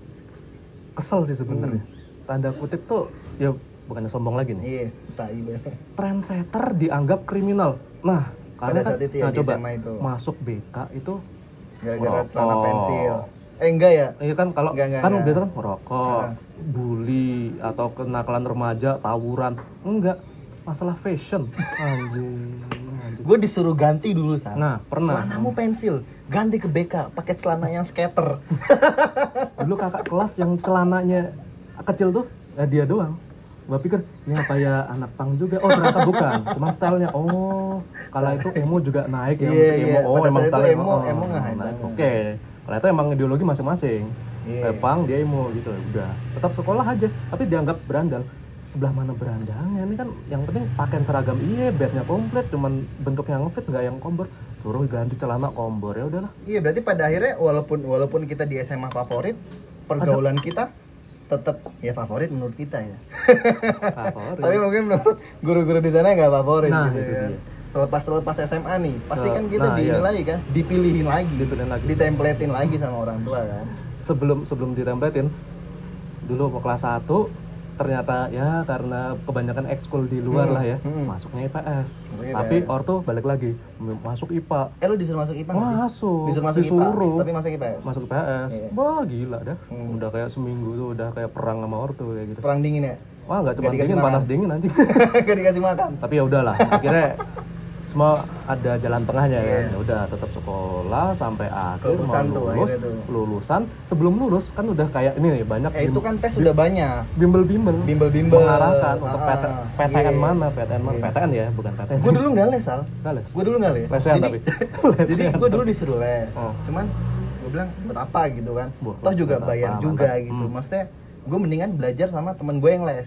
S1: kesel sih sebenarnya
S2: Hmm.
S1: tanda kutip tuh ya bukannya sombong lagi nih
S2: Iya, tai lu.
S1: trendsetter dianggap kriminal nah karena
S2: Pada saat
S1: kan-
S2: itu ya
S1: nah,
S2: di
S1: coba Oh.
S2: SMA itu.
S1: masuk BK itu
S2: Gara-gara
S1: Ngerokok.
S2: celana pensil. Eh enggak ya?
S1: Iya kan kalau
S2: Enggak, enggak,
S1: kan
S2: enggak.
S1: biasa kan merokok, bully atau kenakalan remaja, tawuran. Enggak, masalah fashion. Anjing. anjing.
S2: Gue disuruh ganti dulu Sar.
S1: Nah, pernah.
S2: Celanamu pensil, ganti ke BK, pakai celana yang skater.
S1: Dulu kakak kelas yang celananya kecil tuh, ya dia doang. Gua pikir, ya kayak anak pang juga. Oh, ternyata bukan. Cuma stylenya, oh, kala itu emo juga naik ya.
S2: Iya,
S1: musik
S2: iya.
S1: emo, oh
S2: Pada
S1: emang
S2: saat itu
S1: style
S2: emo- emo nggak hype
S1: naik.
S2: banget.
S1: Oke, kala itu emang ideologi masing-masing.
S2: Iya.
S1: Kayak pang, dia emo gitu, udah. Tetap sekolah aja, tapi dianggap berandal. Sebelah mana berandalnya, ini kan yang penting pakaian seragam iya, bednya komplit, cuman bentuknya ngefit, nggak yang kombor. Suruh ganti celana kombor, ya udahlah.
S2: Iya, berarti pada akhirnya walaupun walaupun kita di SMA favorit, pergaulan kita tetap ya favorit menurut kita ya.
S1: Favorit.
S2: Tapi mungkin menurut guru-guru di sana nggak favorit
S1: Nah,
S2: gitu
S1: itu
S2: ya.
S1: dia.
S2: Selepas selepas SMA nih, pasti
S1: Nah,
S2: kan kita
S1: nah,
S2: diini
S1: iya.
S2: lagi kan, dipilihin lagi,
S1: Dipilihin lagi.
S2: ditempletin lagi sama orang tua kan.
S1: sebelum sebelum ditempletin dulu mau kelas 1 ternyata ya karena kebanyakan ekskul di luar lah ya
S2: hmm.
S1: masuknya IPS
S2: Masuknya
S1: tapi
S2: IPS.
S1: orto balik lagi m- masuk IPA
S2: Eh lu disuruh masuk IPA nggak sih?
S1: masuk
S2: Disuruh masuk
S1: disuruh
S2: IPA, tapi masuk IPA ya?
S1: masuk IPS
S2: Iya.
S1: wah gila dah
S2: Hmm.
S1: udah kayak seminggu tuh udah kayak perang sama orto kayak gitu
S2: Perang dingin ya?
S1: wah nggak cuma
S2: Nggak dikasih
S1: dingin
S2: makan.
S1: panas dingin nanti
S2: Gak dikasih makan?
S1: tapi ya udahlah akhirnya semua ada jalan tengahnya kan
S2: Iya.
S1: ya udah tetap sekolah sampai akhir
S2: Kelulusan tuh
S1: mau lulus
S2: akhirnya tuh.
S1: lulusan sebelum lulus kan udah kayak ini nih banyak
S2: Eh itu
S1: bim-
S2: kan tes udah banyak
S1: bimbel-bimbel
S2: Bimbel-bimbel
S1: mengarahkan untuk
S2: Ah,
S1: PT, PTN
S2: iya.
S1: mana PTN mana
S2: Iya.
S1: PTN ya bukan PTS
S2: Gue dulu nggak les, Al
S1: Gales
S2: Gue dulu nggak les
S1: lesehan tapi
S2: Jadi gue dulu disuruh les
S1: Oh.
S2: Cuman gue bilang buat apa gitu kan
S1: Buat-
S2: Toh juga
S1: buat
S2: bayar
S1: apa,
S2: juga
S1: mantap.
S2: gitu
S1: Hmm.
S2: Maksudnya gue mendingan belajar sama temen gue yang les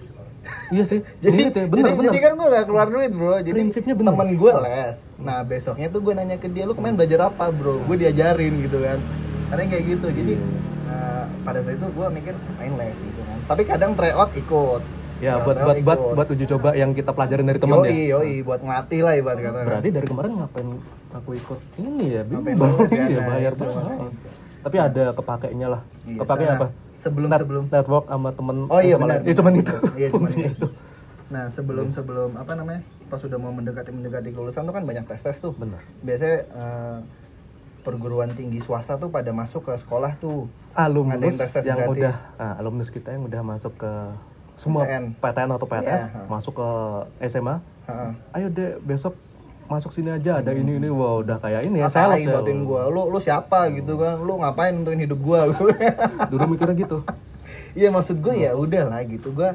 S1: iya sih
S2: jadi,
S1: jadi, ya, bener
S2: jadi,
S1: bener
S2: jadi kan gue gak keluar duit bro jadi
S1: Prinsipnya bener.
S2: temen gue les nah besoknya tuh gue nanya ke dia lu kemarin belajar apa bro gue diajarin gitu kan karena kayak gitu jadi
S1: Iya.
S2: eh, pada saat itu gue mikir main les gitu kan tapi kadang tryout ikut
S1: ya
S2: Nah,
S1: buat
S2: tryout
S1: buat buat
S2: ikut.
S1: buat uji coba yang kita pelajarin dari teman
S2: yoi,
S1: ya
S2: yoi buat ngelatih lah ibarat kata kan.
S1: berarti dari kemarin ngapain aku ikut ini ya
S2: Ngapain
S1: bimbel
S2: lulus ya,
S1: ya
S2: nah,
S1: bayar
S2: itu
S1: banget tapi ada kepakainya lah
S2: Iya,
S1: kepake
S2: sana.
S1: apa
S2: sebelum
S1: Net-
S2: sebelum
S1: network sama temen
S2: Oh iya,
S1: sama
S2: benar.
S1: lain. ya cuman itu Iya.
S2: Iya, cuman
S1: Fungsinya
S2: itu. nah sebelum sebelum apa namanya pas sudah mau mendekati mendekati kelulusan tuh kan banyak tes tes tuh
S1: bener
S2: biasanya eh, perguruan tinggi swasta tuh pada masuk ke sekolah tuh
S1: alumnus
S2: Ngadain tes-tes
S1: yang
S2: gratis.
S1: udah ah, alumnus kita yang udah masuk ke semua
S2: PTN.
S1: PTN, atau PTS
S2: Iya, ha.
S1: masuk ke SMA
S2: Heeh.
S1: ayo deh besok masuk sini aja ada ini ini wow udah kayak ini ya
S2: Atai
S1: sales ya
S2: buatin gua, lu lu siapa gitu kan, lu ngapain nentuin hidup gua
S1: dulu mikirnya gitu
S2: Iya maksud gue ya udah lah gitu gue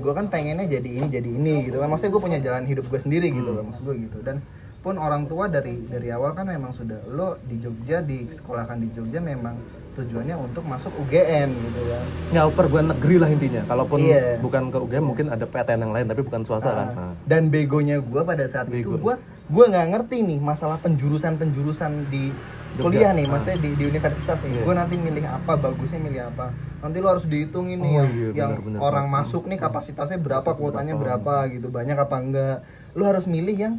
S2: gue kan pengennya jadi ini jadi ini gitu kan maksudnya gue punya jalan hidup gue sendiri gitu loh
S1: Hmm.
S2: maksud gue gitu dan pun orang tua dari dari awal kan memang sudah lo di Jogja di sekolahkan di Jogja memang tujuannya untuk masuk UGM gitu kan
S1: ya perguruan negeri lah intinya kalaupun
S2: Iya.
S1: bukan ke UGM mungkin ada PTN yang lain tapi bukan swasta kan Nah,
S2: Ah, dan begonya gue pada saat
S1: Bego.
S2: itu gue gue nggak ngerti nih masalah penjurusan penjurusan di
S1: Jogja. Ah.
S2: kuliah nih maksudnya di, di universitas nih
S1: Iya.
S2: gue nanti milih apa bagusnya milih apa nanti lo harus dihitung ini
S1: Oh,
S2: yang,
S1: iya,
S2: yang
S1: benar-benar.
S2: orang masuk
S1: Iya.
S2: nih kapasitasnya berapa kuotanya berapa gitu banyak apa enggak lo harus milih yang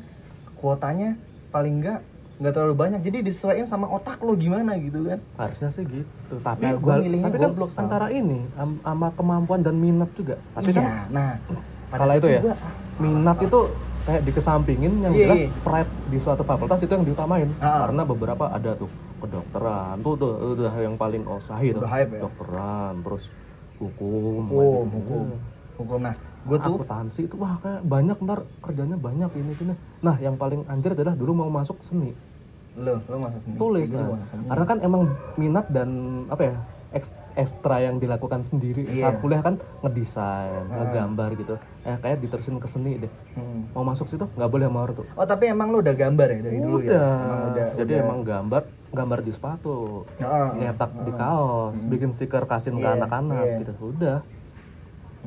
S2: kuotanya paling enggak nggak terlalu banyak jadi disesuaikan sama otak lo gimana gitu kan
S1: harusnya sih gitu tapi
S2: Nah, gua
S1: gua-
S2: milihnya
S1: tapi kan
S2: goblok, Sal.
S1: antara ini am- sama kemampuan dan minat juga tapi kan
S2: iya nah pada
S1: kalau
S2: saat
S1: itu ya
S2: gua,
S1: minat itu kayak dikesampingin yang
S2: Iya,
S1: jelas
S2: iya.
S1: pride di suatu fakultas itu yang diutamain
S2: Ah.
S1: karena beberapa ada tuh kedokteran tuh udah, udah yang paling oh sahih tuh
S2: Udah hype ya?
S1: kedokteran terus hukum
S2: hukum hukum hukum nah gue tuh
S1: akuntansi itu wah kayak banyak ntar kerjanya banyak ini ini nah yang paling anjir adalah dulu mau masuk seni
S2: lo lo masuk sendiri
S1: tulis
S2: Gua
S1: nah.
S2: masuk sendiri.
S1: karena kan emang minat dan apa ya eks- ekstra yang dilakukan sendiri
S2: Iya. Ah.
S1: saat kuliah kan ngedesain ngegambar gitu eh kayak diterusin ke seni deh
S2: Hmm.
S1: mau masuk situ nggak boleh mawar tuh
S2: Oh tapi emang lu udah gambar ya dari dulu ya? Emang udah. Ah,
S1: udah. jadi emang gambar gambar di sepatu
S2: Heeh.
S1: nyetak di kaos bikin stiker kasin ke
S2: Iya,
S1: anak-anak
S2: iya.
S1: gitu udah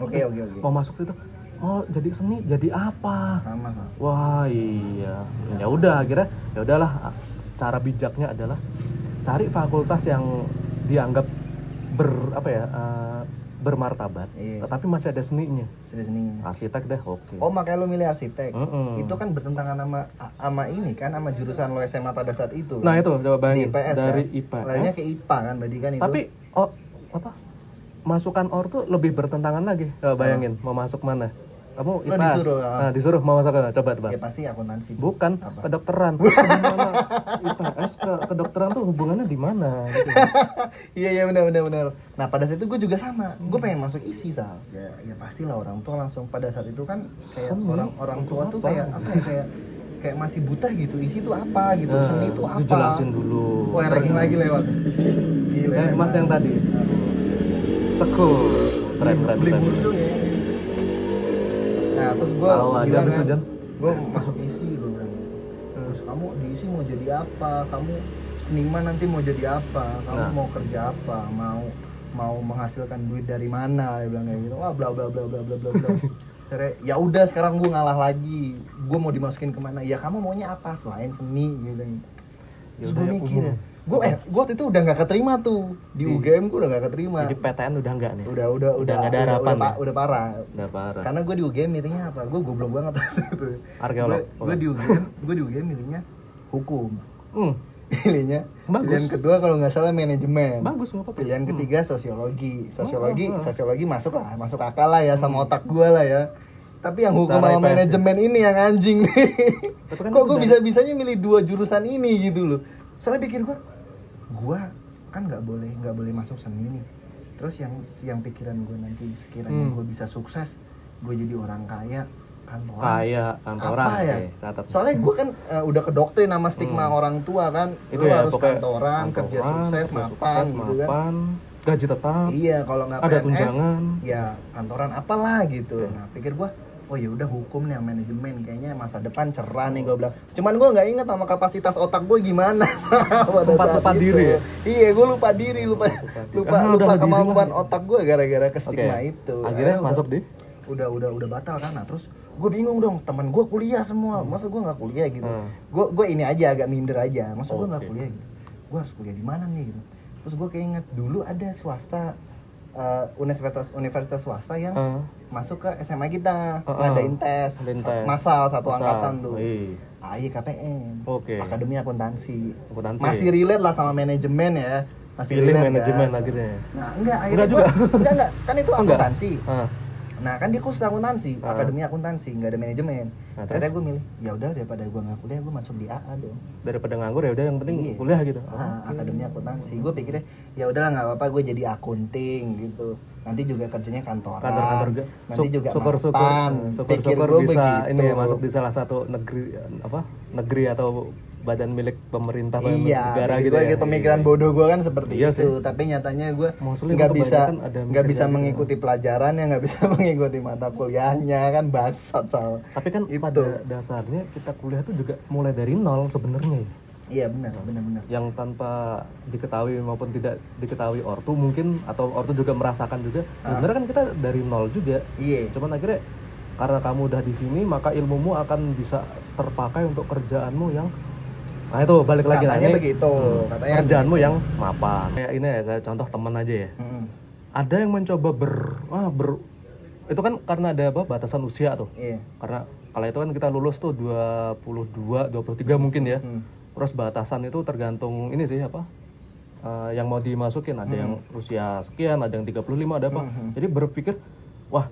S2: Oke oke oke.
S1: mau masuk situ mau jadi seni jadi apa
S2: Sama sama.
S1: wah iya ya udah akhirnya ya udahlah cara bijaknya adalah cari fakultas yang dianggap ber apa ya eh, bermartabat
S2: Iya.
S1: tetapi masih ada seninya
S2: Seni seninya.
S1: arsitek deh oke
S2: Oh makanya lu milih arsitek.
S1: Mm-mm.
S2: Itu kan bertentangan sama sama ini kan sama jurusan lo SMA pada saat itu.
S1: nah itu coba bayangin
S2: di IPS
S1: dari
S2: kan?
S1: IPA
S2: Selainnya ke IPA kan berarti kan itu.
S1: tapi oh apa masukan or tuh lebih bertentangan lagi Eh, bayangin mau masuk mana kamu
S2: Lo
S1: IPAS
S2: disuruh, ah.
S1: nah, disuruh mau masuk mana coba coba
S2: ya pasti akuntansi.
S1: bukan kedokteran Gimana IPS ke kedokteran tuh hubungannya di mana gitu.
S2: Iya iya benar benar benar. Nah pada saat itu gue juga sama. Gue pengen masuk isi sal. Hmm. Ya ya pastilah orang tua langsung pada saat itu kan kayak
S1: Seni.
S2: orang orang tua tuh
S1: Apa?
S2: kayak apa ya kayak kayak masih buta gitu. Isi itu apa gitu.
S1: Nah,
S2: Seni itu apa?
S1: dijelasin dulu
S2: Wah, yang ranking lagi lewat. Gila.
S1: Eh, mas yang tadi tekul keren keren
S2: Beli
S1: keren
S2: burjo ya. Nah, terus gua
S1: Tahu aja
S2: bilang
S1: habis
S2: kan,
S1: hujan.
S2: Gua masuk isi gua bilang. Terus kamu diisi mau jadi apa? Kamu seniman nanti mau jadi apa? Kamu
S1: Nah.
S2: mau kerja apa? Mau mau menghasilkan duit dari mana? Dia bilang kayak gitu. Wah, bla bla bla bla bla bla bla. Sere, ya udah sekarang gua ngalah lagi. Gua mau dimasukin kemana? Ya kamu maunya apa selain seni gitu. Terus
S1: udah,
S2: gue
S1: ya,
S2: mikir,
S1: umum.
S2: gue eh gue waktu itu udah nggak keterima tuh di
S1: Di-
S2: UGM gue udah nggak keterima.
S1: jadi PTN udah enggak nih
S2: Udah udah udah
S1: nggak ada
S2: udah,
S1: harapan
S2: udah,
S1: ya?
S2: pa- udah parah.
S1: udah parah
S2: Karena gue di UGM milihnya apa? Gue goblok banget itu.
S1: Arkeolog.
S2: Gue di UGM, gue di UGM milihnya hukum.
S1: hmm,
S2: Pilihnya
S1: Bagus.
S2: pilihan kedua kalau nggak salah manajemen.
S1: bagus Hmm. Oh, nggak apa-apa
S2: Pilihan ketiga sosiologi. Sosiologi, sosiologi masuk lah, masuk akal lah ya sama otak gue lah ya. Tapi yang
S1: Hmm.
S2: hukum
S1: Secara IPS
S2: sama
S1: ya?
S2: manajemen ini yang anjing nih.
S1: Tapi kan
S2: Kok gue
S1: dari-
S2: bisa-bisanya milih dua jurusan ini gitu loh. Soalnya pikir gue, gue kan nggak boleh nggak boleh masuk seni nih. Terus yang yang pikiran gue nanti sekiranya
S1: Hmm.
S2: gue bisa sukses, gue jadi orang kaya, kantoran,
S1: kaya kantoran
S2: apa ya?
S1: Oke, catat.
S2: Soalnya gue kan eh, udah ke doktrin nama stigma orang tua kan,
S1: Hmm. itu
S2: lu
S1: ya
S2: harus
S1: pokoknya
S2: kantoran, kerja
S1: kantoran,
S2: sukses,
S1: kerja
S2: mapan
S1: sukses,
S2: gitu kan.
S1: mapan, gaji tetap
S2: Iya, kalau nggak
S1: Ada
S2: PNS,
S1: tunjangan.
S2: ya kantoran apalah gitu. Nah, pikir gua, oh ya udah hukum nih yang manajemen kayaknya masa depan cerah nih gua bilang. Cuman gua nggak inget sama kapasitas otak gua gimana. pada
S1: Sempat
S2: saat
S1: lupa
S2: itu.
S1: diri ya?
S2: Iya, gua lupa diri, lupa
S1: diri.
S2: lupa
S1: Ah, udah
S2: lupa
S1: lu diisi
S2: kemampuan
S1: lah.
S2: otak gua gara-gara ke
S1: Oke.
S2: stigma itu.
S1: akhirnya
S2: Akhirnya
S1: masuk deh
S2: udah udah udah batal kan nah terus gue bingung dong teman gue kuliah semua masa gue nggak kuliah gitu
S1: Hmm.
S2: gue gue ini aja agak minder aja masa gue nggak
S1: Oke.
S2: kuliah gitu gue harus kuliah di mana nih gitu terus gue keinget dulu ada swasta eh, universitas universitas swasta yang
S1: Ah,
S2: masuk ke SMA kita
S1: Heeh.
S2: ngadain tes,
S1: Hmm. Ngadain tes.
S2: masal satu
S1: masa.
S2: angkatan tuh Ah,
S1: Wih,
S2: iya, AI KPN
S1: Oke.
S2: akademi akuntansi
S1: akuntansi.
S2: masih relate lah sama manajemen ya masih
S1: pilih
S2: relate kan?
S1: manajemen akhirnya
S2: nah enggak akhirnya
S1: juga.
S2: gua- enggak enggak kan itu
S1: enggak?
S2: akuntansi
S1: Ah,
S2: Nah kan dia kursus akuntansi,
S1: Ah.
S2: akademi akuntansi, nggak ada manajemen.
S1: Nah, terus?
S2: Akhirnya gue milih, ya udah daripada gue nggak kuliah, gue masuk di AA dong.
S1: daripada nganggur ya udah yang penting
S2: Iya.
S1: kuliah gitu
S2: Ah, akademi akuntansi. Gue pikirnya, ya udahlah nggak apa-apa, gue jadi akunting gitu. Nanti juga kerjanya kantoran.
S1: kantor-kantor juga
S2: Ah, Nanti juga
S1: syukur-syukur eh,
S2: mapan.
S1: syukur-syukur
S2: Pikir gua
S1: bisa
S2: begitu.
S1: ini ya, masuk di salah satu eh, negeri apa negeri atau badan milik pemerintah badan milik
S2: iya
S1: negara
S2: jadi
S1: gitu
S2: gua-
S1: ya.
S2: gitu, pemikiran bodoh gue kan seperti
S1: Iya
S2: itu tapi nyatanya gue
S1: Maksudnya
S2: nggak
S1: gua
S2: bisa
S1: kebanyakan ada
S2: nggak
S1: mikir
S2: bisa
S1: kayak gitu.
S2: mengikuti pelajaran yang nggak bisa mengikuti mata kuliahnya kan basat soal
S1: Tapi kan
S2: Itu.
S1: pada dasarnya kita kuliah itu juga mulai dari nol sebenarnya. ya.
S2: iya benar benar benar
S1: Yang tanpa diketahui maupun tidak diketahui ortu mungkin atau ortu juga merasakan juga.
S2: Ah.
S1: Sebenarnya kan kita dari nol juga.
S2: iya
S1: Cuman akhirnya karena kamu udah di sini maka ilmumu akan bisa terpakai untuk kerjaanmu yang Nah itu balik lagi lah
S2: katanya
S1: ini
S2: begitu
S1: Hmm.
S2: ya. katanya
S1: kerjaanmu yang mapan. Kayak ini ya kayak contoh teman aja ya.
S2: Mm,
S1: Ada yang mencoba ber ah ber itu kan karena ada apa batasan usia tuh.
S2: iya
S1: Karena kalau itu kan kita lulus tuh 22, 23 mungkin ya.
S2: Hmm.
S1: Terus batasan itu tergantung ini sih apa? eh, yang mau dimasukin ada yang
S2: Hmm.
S1: usia sekian, ada yang 35, ada apa. Jadi berpikir, wah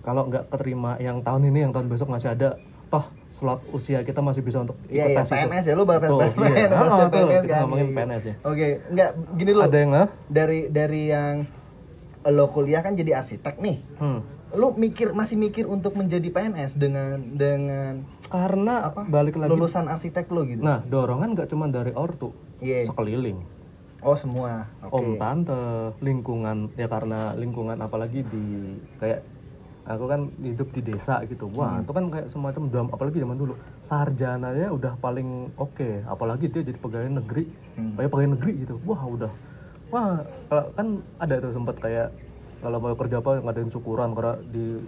S1: kalau nggak keterima yang tahun ini, yang tahun besok masih ada, toh slot usia kita masih bisa untuk
S2: Iya, iya,
S1: tes itu.
S2: PNS ya, lu bahas
S1: Tuh,
S2: bahas
S1: iya.
S2: PNS, bahas
S1: Ah, tuh,
S2: PNS
S1: kita
S2: kan.
S1: ngomongin
S2: Iya.
S1: PNS ya.
S2: Oke, enggak gini loh.
S1: Ada yang nggak?
S2: Dari dari yang lo kuliah kan jadi arsitek nih.
S1: Hmm.
S2: Lo mikir masih mikir untuk menjadi PNS dengan dengan
S1: Karena
S2: apa?
S1: balik lagi,
S2: Lulusan arsitek lo gitu.
S1: nah dorongan nggak cuma dari ortu,
S2: Iya.
S1: sekeliling.
S2: Oh, semua. Oke.
S1: om tante lingkungan ya karena lingkungan apalagi di kayak aku kan hidup di desa gitu
S2: Hmm.
S1: wah itu kan kayak semacam dam apalagi zaman dulu sarjananya udah paling oke apalagi dia jadi pegawai negeri
S2: Hmm.
S1: kayak pegawai negeri gitu wah udah wah kalau kan ada tuh sempat kayak kalau mau kerja apa ngadain syukuran karena di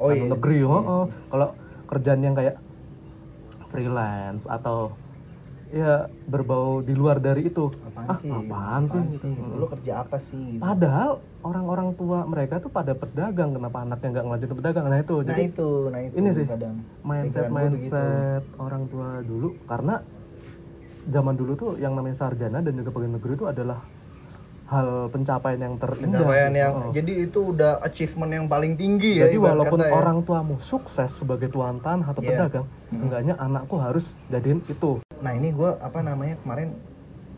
S2: Oh,
S1: anu negeri heeh. kalau kerjaan yang kayak freelance atau ya berbau di luar dari itu
S2: Apaan
S1: ah
S2: sih?
S1: apaan sih Ah,
S2: Apaan sih? Lo kerja apa sih? gitu.
S1: Padahal orang-orang tua mereka tuh pada pedagang, kenapa anaknya nggak ngelanjutin pedagang? Nah itu,
S2: Nah,
S1: jadi
S2: itu, nah itu
S1: ini sih.
S2: kadang.
S1: mindset mindset orang tua dulu karena zaman dulu tuh yang namanya sarjana dan juga pegawai negeri itu adalah hal pencapaian yang terindah.
S2: Pencapaian
S1: sih.
S2: yang
S1: Oh.
S2: jadi itu udah achievement yang paling tinggi ya
S1: Jadi
S2: ibarat
S1: walaupun
S2: kata ya.
S1: orang tuamu sukses sebagai tuan tanah atau
S2: Iya.
S1: pedagang, seenggaknya anakku harus jadiin itu.
S2: Nah, ini gua apa namanya kemarin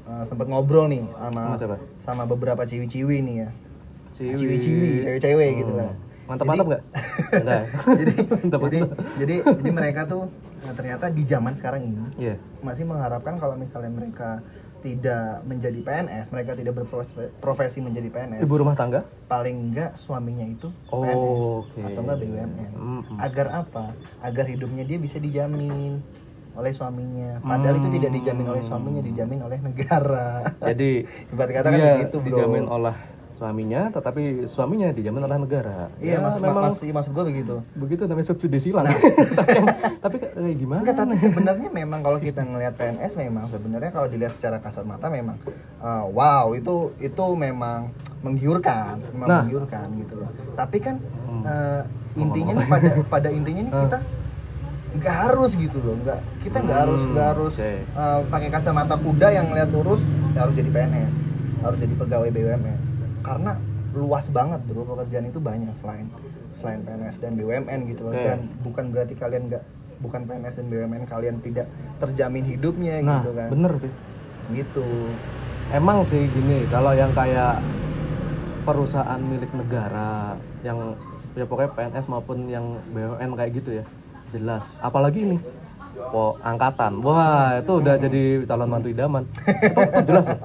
S2: eh, sempet ngobrol nih sama
S1: Sama siapa?
S2: sama beberapa ciwi-ciwi nih ya. Ciwi-ciwi, cewek-cewek gitu
S1: Oh.
S2: lah.
S1: Mantap-mantap nggak? Enggak.
S2: Jadi jadi
S1: Mantap-mantap.
S2: jadi jadi mereka tuh nah, ternyata di zaman sekarang ini
S1: Iya.
S2: masih mengharapkan kalau misalnya mereka tidak menjadi PNS, mereka tidak berprofesi menjadi PNS,
S1: Ibu rumah tangga?
S2: paling enggak suaminya itu
S1: Oh,
S2: PNS
S1: oke. Hmm.
S2: atau enggak BUMN.
S1: Mm-mm.
S2: Agar apa? Agar hidupnya dia bisa dijamin oleh suaminya.
S1: Hmm.
S2: Padahal itu tidak dijamin oleh suaminya, dijamin oleh negara.
S1: Jadi
S2: Ibarat kata kan
S1: dia
S2: gitu, Bro.
S1: Iya, dijamin oleh suaminya, tetapi suaminya dijamin oleh negara.
S2: Iya,
S1: Ya,
S2: maksud,
S1: memang
S2: maksud, maksud gue begitu.
S1: begitu namanya subsidi silang. tapi, yang- tapi kayak gimana?
S2: Enggak, tapi sebenarnya memang kalau kita ngelihat PNS memang sebenarnya kalau dilihat secara kasat mata memang uh, wow itu itu memang menggiurkan,
S1: Nah.
S2: memang
S1: Hmm.
S2: menggiurkan gitu loh. Tapi kan uh, intinya nih pada pada intinya nih kita nggak harus gitu loh, nggak kita nggak harus
S1: Hmm,
S2: nggak harus
S1: oke.
S2: uh, pakai kacamata kuda yang ngelihat lurus ya harus jadi PNS, harus jadi pegawai BUMN karena luas banget bro pekerjaan itu banyak selain selain PNS dan BUMN gitu loh
S1: Oke.
S2: dan bukan berarti kalian nggak bukan PNS dan BUMN kalian tidak terjamin hidupnya
S1: Nah,
S2: gitu kan
S1: bener sih.
S2: gitu
S1: Emang sih gini, kalau yang kayak perusahaan milik negara yang ya pokoknya PNS maupun yang BUMN kayak gitu ya. Jelas. Apalagi ini po angkatan. Wah, itu udah jadi calon mantu idaman. Itu, itu jelas loh.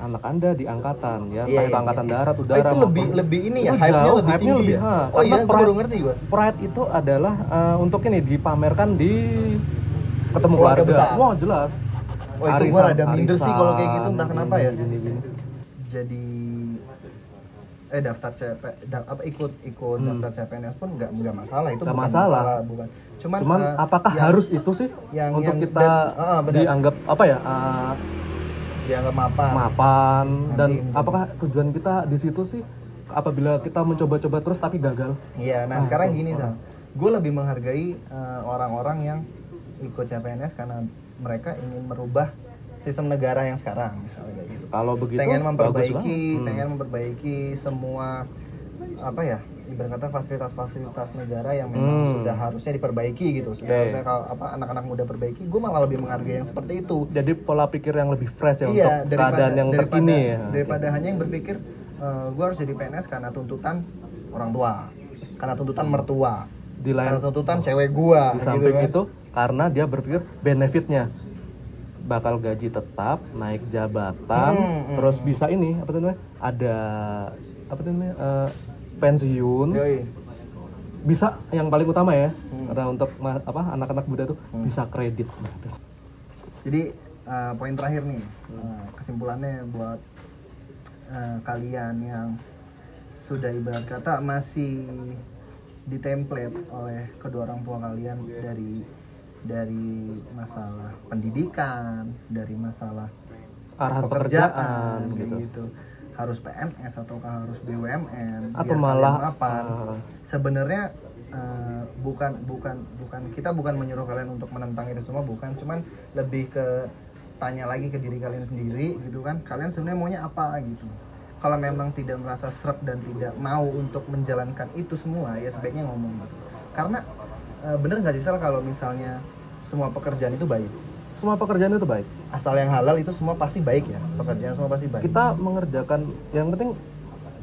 S1: Anak Anda di angkatan ya, entah
S2: Iya,
S1: itu
S2: iya,
S1: angkatan
S2: iya.
S1: darat,
S2: Oh,
S1: udara.
S2: itu
S1: maupun-
S2: lebih lebih ini ya
S1: Itu
S2: hype nya
S1: jauh,
S2: lebih
S1: hype-nya
S2: tinggi
S1: lebih,
S2: ya
S1: ha.
S2: oh iya
S1: Karena
S2: gue
S1: pride-
S2: baru ngerti gue
S1: Pride itu adalah eh, untuk ini dipamerkan di ketemu
S2: Keluarga
S1: keluarga.
S2: besar.
S1: Wah, jelas.
S2: oh itu gue
S1: Arisan-
S2: rada minder sih kalau kayak gitu entah
S1: arisan,
S2: kenapa ya
S1: gini-gini.
S2: jadi eh daftar CP da- apa ikut ikut daftar CPNS pun nggak nggak masalah itu
S1: Hmm. Nggak
S2: bukan
S1: masalah.
S2: bukan cuman,
S1: Cuman
S2: eh,
S1: apakah
S2: yang
S1: harus itu sih
S2: yang-
S1: untuk
S2: yang-
S1: kita
S2: dan- ah, benar.
S1: dianggap apa ya eh,
S2: dianggap mapan
S1: mapan dan
S2: Nanti-
S1: apakah tujuan kita di situ sih apabila kita mencoba-coba terus tapi gagal? Ah,
S2: Iya, nah sekarang gini Sal, gue lebih menghargai eh, orang-orang yang ikut CPNS karena mereka ingin merubah sistem negara yang sekarang misalnya kayak gitu.
S1: Kalau begitu
S2: pengen
S1: bagus banget. Hmm.
S2: memperbaiki, pengen memperbaiki semua apa ya ibarat kata fasilitas-fasilitas negara yang memang
S1: Hmm. Iya.
S2: sudah harusnya diperbaiki gitu. Sudah
S1: Oke.
S2: harusnya kalau apa anak-anak muda perbaiki, gue malah lebih menghargai yang seperti itu
S1: Jadi pola pikir yang lebih fresh ya
S2: iya,
S1: untuk
S2: daripada,
S1: keadaan yang
S2: daripada,
S1: terkini ya.
S2: Daripada hanya yang berpikir gue harus jadi PNS karena tuntutan orang tua, karena tuntutan mertua,
S1: Di lain
S2: karena tuntutan cewek gua.
S1: Oh. di samping
S2: kan.
S1: itu karena dia berpikir benefitnya bakal gaji tetap, naik jabatan,
S2: Hmm, hmm,
S1: terus bisa ini apa tuh namanya? Ada apa tuh namanya? eh, pensiun.
S2: Yoi.
S1: Bisa yang paling utama ya.
S2: Hmm.
S1: Karena untuk ma- apa anak-anak muda tuh bisa kredit. Nah, itu.
S2: Jadi eh, poin terakhir nih eh, kesimpulannya buat eh, kalian yang sudah ibarat kata masih ditemplate oleh kedua orang tua kalian dari dari masalah pendidikan, dari masalah
S1: Arahan pekerjaan,
S2: pekerjaan,
S1: gitu.
S2: gitu. harus PNS ataukah harus BUMN
S1: Atau
S2: biar
S1: malah,
S2: kalian mapan.
S1: eh,
S2: sebenarnya eh, bukan bukan bukan kita bukan menyuruh kalian untuk menentang itu semua bukan cuman lebih ke tanya lagi ke diri kalian sendiri gitu kan kalian sebenarnya maunya apa gitu kalau memang tidak merasa seret dan tidak mau untuk menjalankan itu semua ya sebaiknya ngomong gitu. karena eh, bener nggak sih Sel kalau misalnya semua pekerjaan itu baik
S1: Semua pekerjaan itu baik.
S2: asal yang halal itu semua pasti baik ya pekerjaan semua pasti baik
S1: Kita mengerjakan yang penting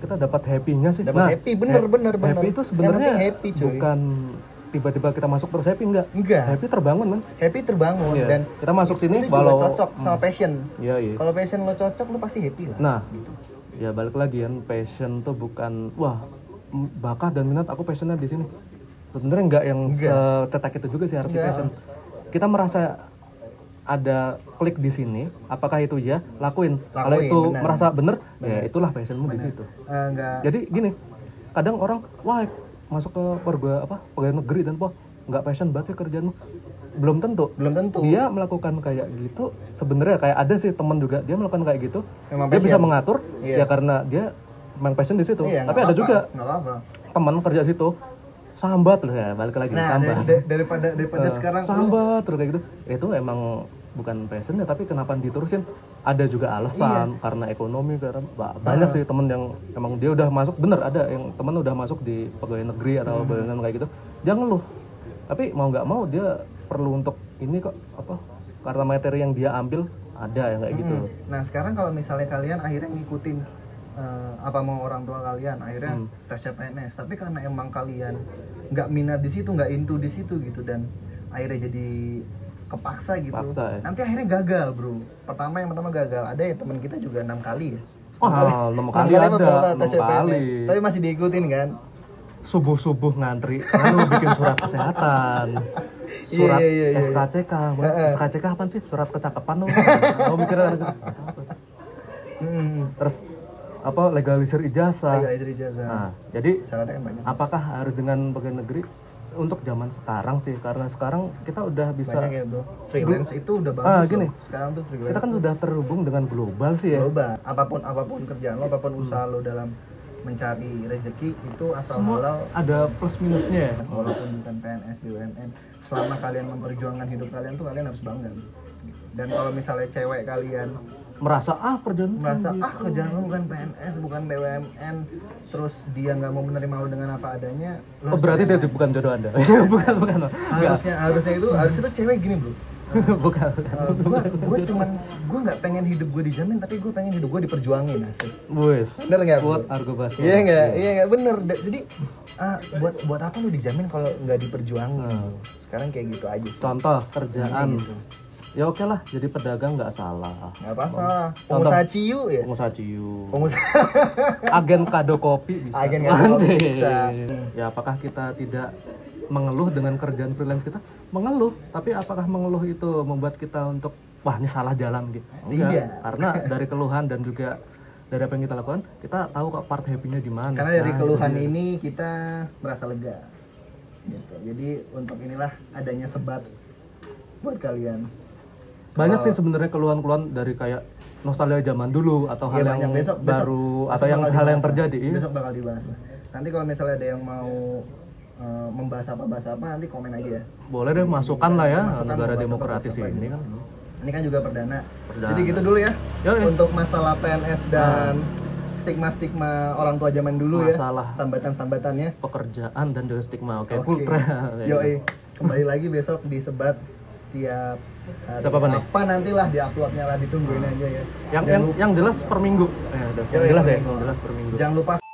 S1: kita dapat happy-nya sih.
S2: dapat
S1: Nah,
S2: happy bener
S1: ha-
S2: bener bener
S1: Happy itu
S2: Yang
S1: sebenarnya
S2: penting happy cuy Nah.
S1: bukan tiba-tiba kita masuk terus happy enggak.
S2: enggak
S1: Happy terbangun kan.
S2: happy terbangun
S1: Iya.
S2: dan
S1: kita masuk sini
S2: itu juga
S1: walau
S2: cocok sama passion
S1: Iya, iya.
S2: kalau gitu passion lo cocok lo pasti happy lah
S1: Nah, ya balik lagi kan passion tuh bukan wah m- bakat dan minat aku passionnya di sini. Sebenarnya nggak yang secetek itu juga sih harus di
S2: Nggak.
S1: passion. Kita merasa ada klik di sini, apakah itu ya lakuin. Kalau
S2: Lakuin,
S1: itu
S2: benar.
S1: merasa bener, ya itulah passionmu di situ.
S2: Eh, enggak
S1: Jadi gini, kadang orang wah masuk ke perga apa pegawai negeri dan wah nggak passion banget sih kerjaanmu. Belum tentu.
S2: belum tentu
S1: Dia melakukan kayak gitu sebenarnya kayak ada sih temen juga dia melakukan kayak gitu
S2: memang
S1: dia
S2: passion
S1: bisa mengatur
S2: Iya.
S1: ya karena dia memang passion di situ
S2: Iya,
S1: tapi ada
S2: nggak apa-apa,
S1: juga
S2: nggak apa-apa
S1: teman kerja situ sambat loh ya balik lagi
S2: nah
S1: sambat
S2: dari- dari- daripada
S1: Eh,
S2: daripada sekarang lu-
S1: sambat terus kayak gitu itu emang bukan passion ya tapi kenapa diterusin ada juga alasan
S2: Iya.
S1: karena ekonomi karena ba-
S2: Ah.
S1: banyak sih temen yang emang dia udah masuk bener ada yang temen udah masuk di pegawai negeri atau
S2: Hmm.
S1: bayangan kayak gitu dia ngeluh tapi mau nggak mau dia perlu untuk ini kok apa karena materi yang dia ambil ada yang kayak gitu
S2: Nah sekarang kalau misalnya kalian akhirnya ngikutin eh, apa mau orang tua kalian,
S1: Hmm.
S2: akhirnya tesnya PNS. Tapi karena emang kalian nggak minat di situ, nggak into di situ gitu dan akhirnya jadi kepaksa gitu.
S1: Paksa ya.
S2: Nanti akhirnya gagal bro. Pertama yang pertama gagal. Ada ya teman kita juga enam kali ya.
S1: Wah, enam kali
S2: Enam
S1: ada,
S2: berapa
S1: enam
S2: tesnya
S1: kali.
S2: PNS? Tapi masih diikutin kan?
S1: subuh subuh ngantri lalu bikin surat kesehatan surat
S2: Iya, iya, iya, iya.
S1: SKCK Wah, SKCK apa sih surat kecakapan lo kamu mikir
S2: Hmm.
S1: terus apa legalisir ijazah
S2: Legalisir ijazah.
S1: nah jadi
S2: Syaratnya kan
S1: Ah.
S2: banyak.
S1: apakah harus dengan pegawai negeri untuk zaman sekarang sih karena sekarang kita udah bisa
S2: Banyak ya bro. Freelance itu udah bagus.
S1: Ah,
S2: loh.
S1: gini.
S2: Sekarang tuh freelance.
S1: kita kan sudah terhubung dengan global sih ya
S2: global apapun apapun kerjaan lo apapun usaha lo dalam mencari rezeki itu asal halal
S1: ada plus minusnya ya
S2: walaupun bukan PNS BUMN selama kalian memperjuangkan hidup kalian tuh kalian harus bangga gitu. dan kalau misalnya cewek kalian
S1: merasa ah kerjaan
S2: merasa ah kerjaan lo bukan PNS bukan BUMN terus dia nggak mau menerima lo dengan apa adanya lo
S1: Oh, berarti dia bukan jodoh anda bukan bukan
S2: harusnya harusnya itu harusnya tuh cewek gini bro
S1: bukan
S2: gue gue cuman gue nggak pengen hidup gue dijamin tapi gue pengen hidup gue diperjuangin asik
S1: Wes,
S2: Bener nggak,
S1: Quote
S2: Bu?
S1: Argo Basro.
S2: Iya nggak, iya nggak bener. Da- Jadi ah, buat buat apa lu dijamin kalau nggak diperjuangin?
S1: Hmm.
S2: Sekarang kayak gitu aja. sih.
S1: Contoh
S2: Iya,
S1: kerjaan. Ya oke lah, jadi pedagang nggak salah.
S2: Nggak apa salah. Pengusaha ciu ya.
S1: Pengusaha ciu,
S2: Pengusaha.
S1: agen kado kopi bisa.
S2: Agen kado
S1: Anjir.
S2: kopi bisa.
S1: Ya apakah kita tidak mengeluh dengan kerjaan freelance kita? Mengeluh, tapi apakah mengeluh itu membuat kita untuk wah ini salah jalan gitu? Enggak,
S2: Tidak.
S1: karena dari keluhan dan juga dari apa yang kita lakukan, kita tahu kok part happy-nya di mana.
S2: Karena dari
S1: Nah,
S2: keluhan ini kita merasa lega. Gitu. Jadi untuk inilah adanya sebat buat kalian.
S1: banyak sih sebenarnya keluhan-keluhan dari kayak nostalgia zaman dulu atau hal
S2: Iya,
S1: yang
S2: banyak. Besok- besok-
S1: baru
S2: besok
S1: atau yang
S2: bakal
S1: hal yang
S2: dibahas.
S1: terjadi. Iya.
S2: Besok bakal dibahas. Nanti kalau misalnya ada yang mau eh, membahas apa bahas apa nanti komen aja ya.
S1: Boleh deh masukan lah ya
S2: Masukan,
S1: negara
S2: masukan,
S1: demokratis
S2: masukan.
S1: ini kan.
S2: Ini kan juga perdana.
S1: Perdana.
S2: Jadi gitu dulu ya.
S1: Yoi. Ah.
S2: Untuk masalah PNS dan stigma-stigma orang tua zaman dulu
S1: Masalah.
S2: ya. Sambatan-sambatannya.
S1: Pekerjaan dan dari stigma. Oke,
S2: Oke.
S1: pultra.
S2: Yoi. Kembali lagi besok di sebat setiap hari.
S1: Setiap apa nih? Ah.
S2: nantilah di uploadnya lah ditungguin aja ya.
S1: Yang,
S2: jangan,
S1: yang,
S2: lupa,
S1: yang jelas per minggu. Eh, udah, yang
S2: Yoi,
S1: jelas
S2: per
S1: ya,
S2: minggu.
S1: yang jelas per minggu.
S2: jangan lupa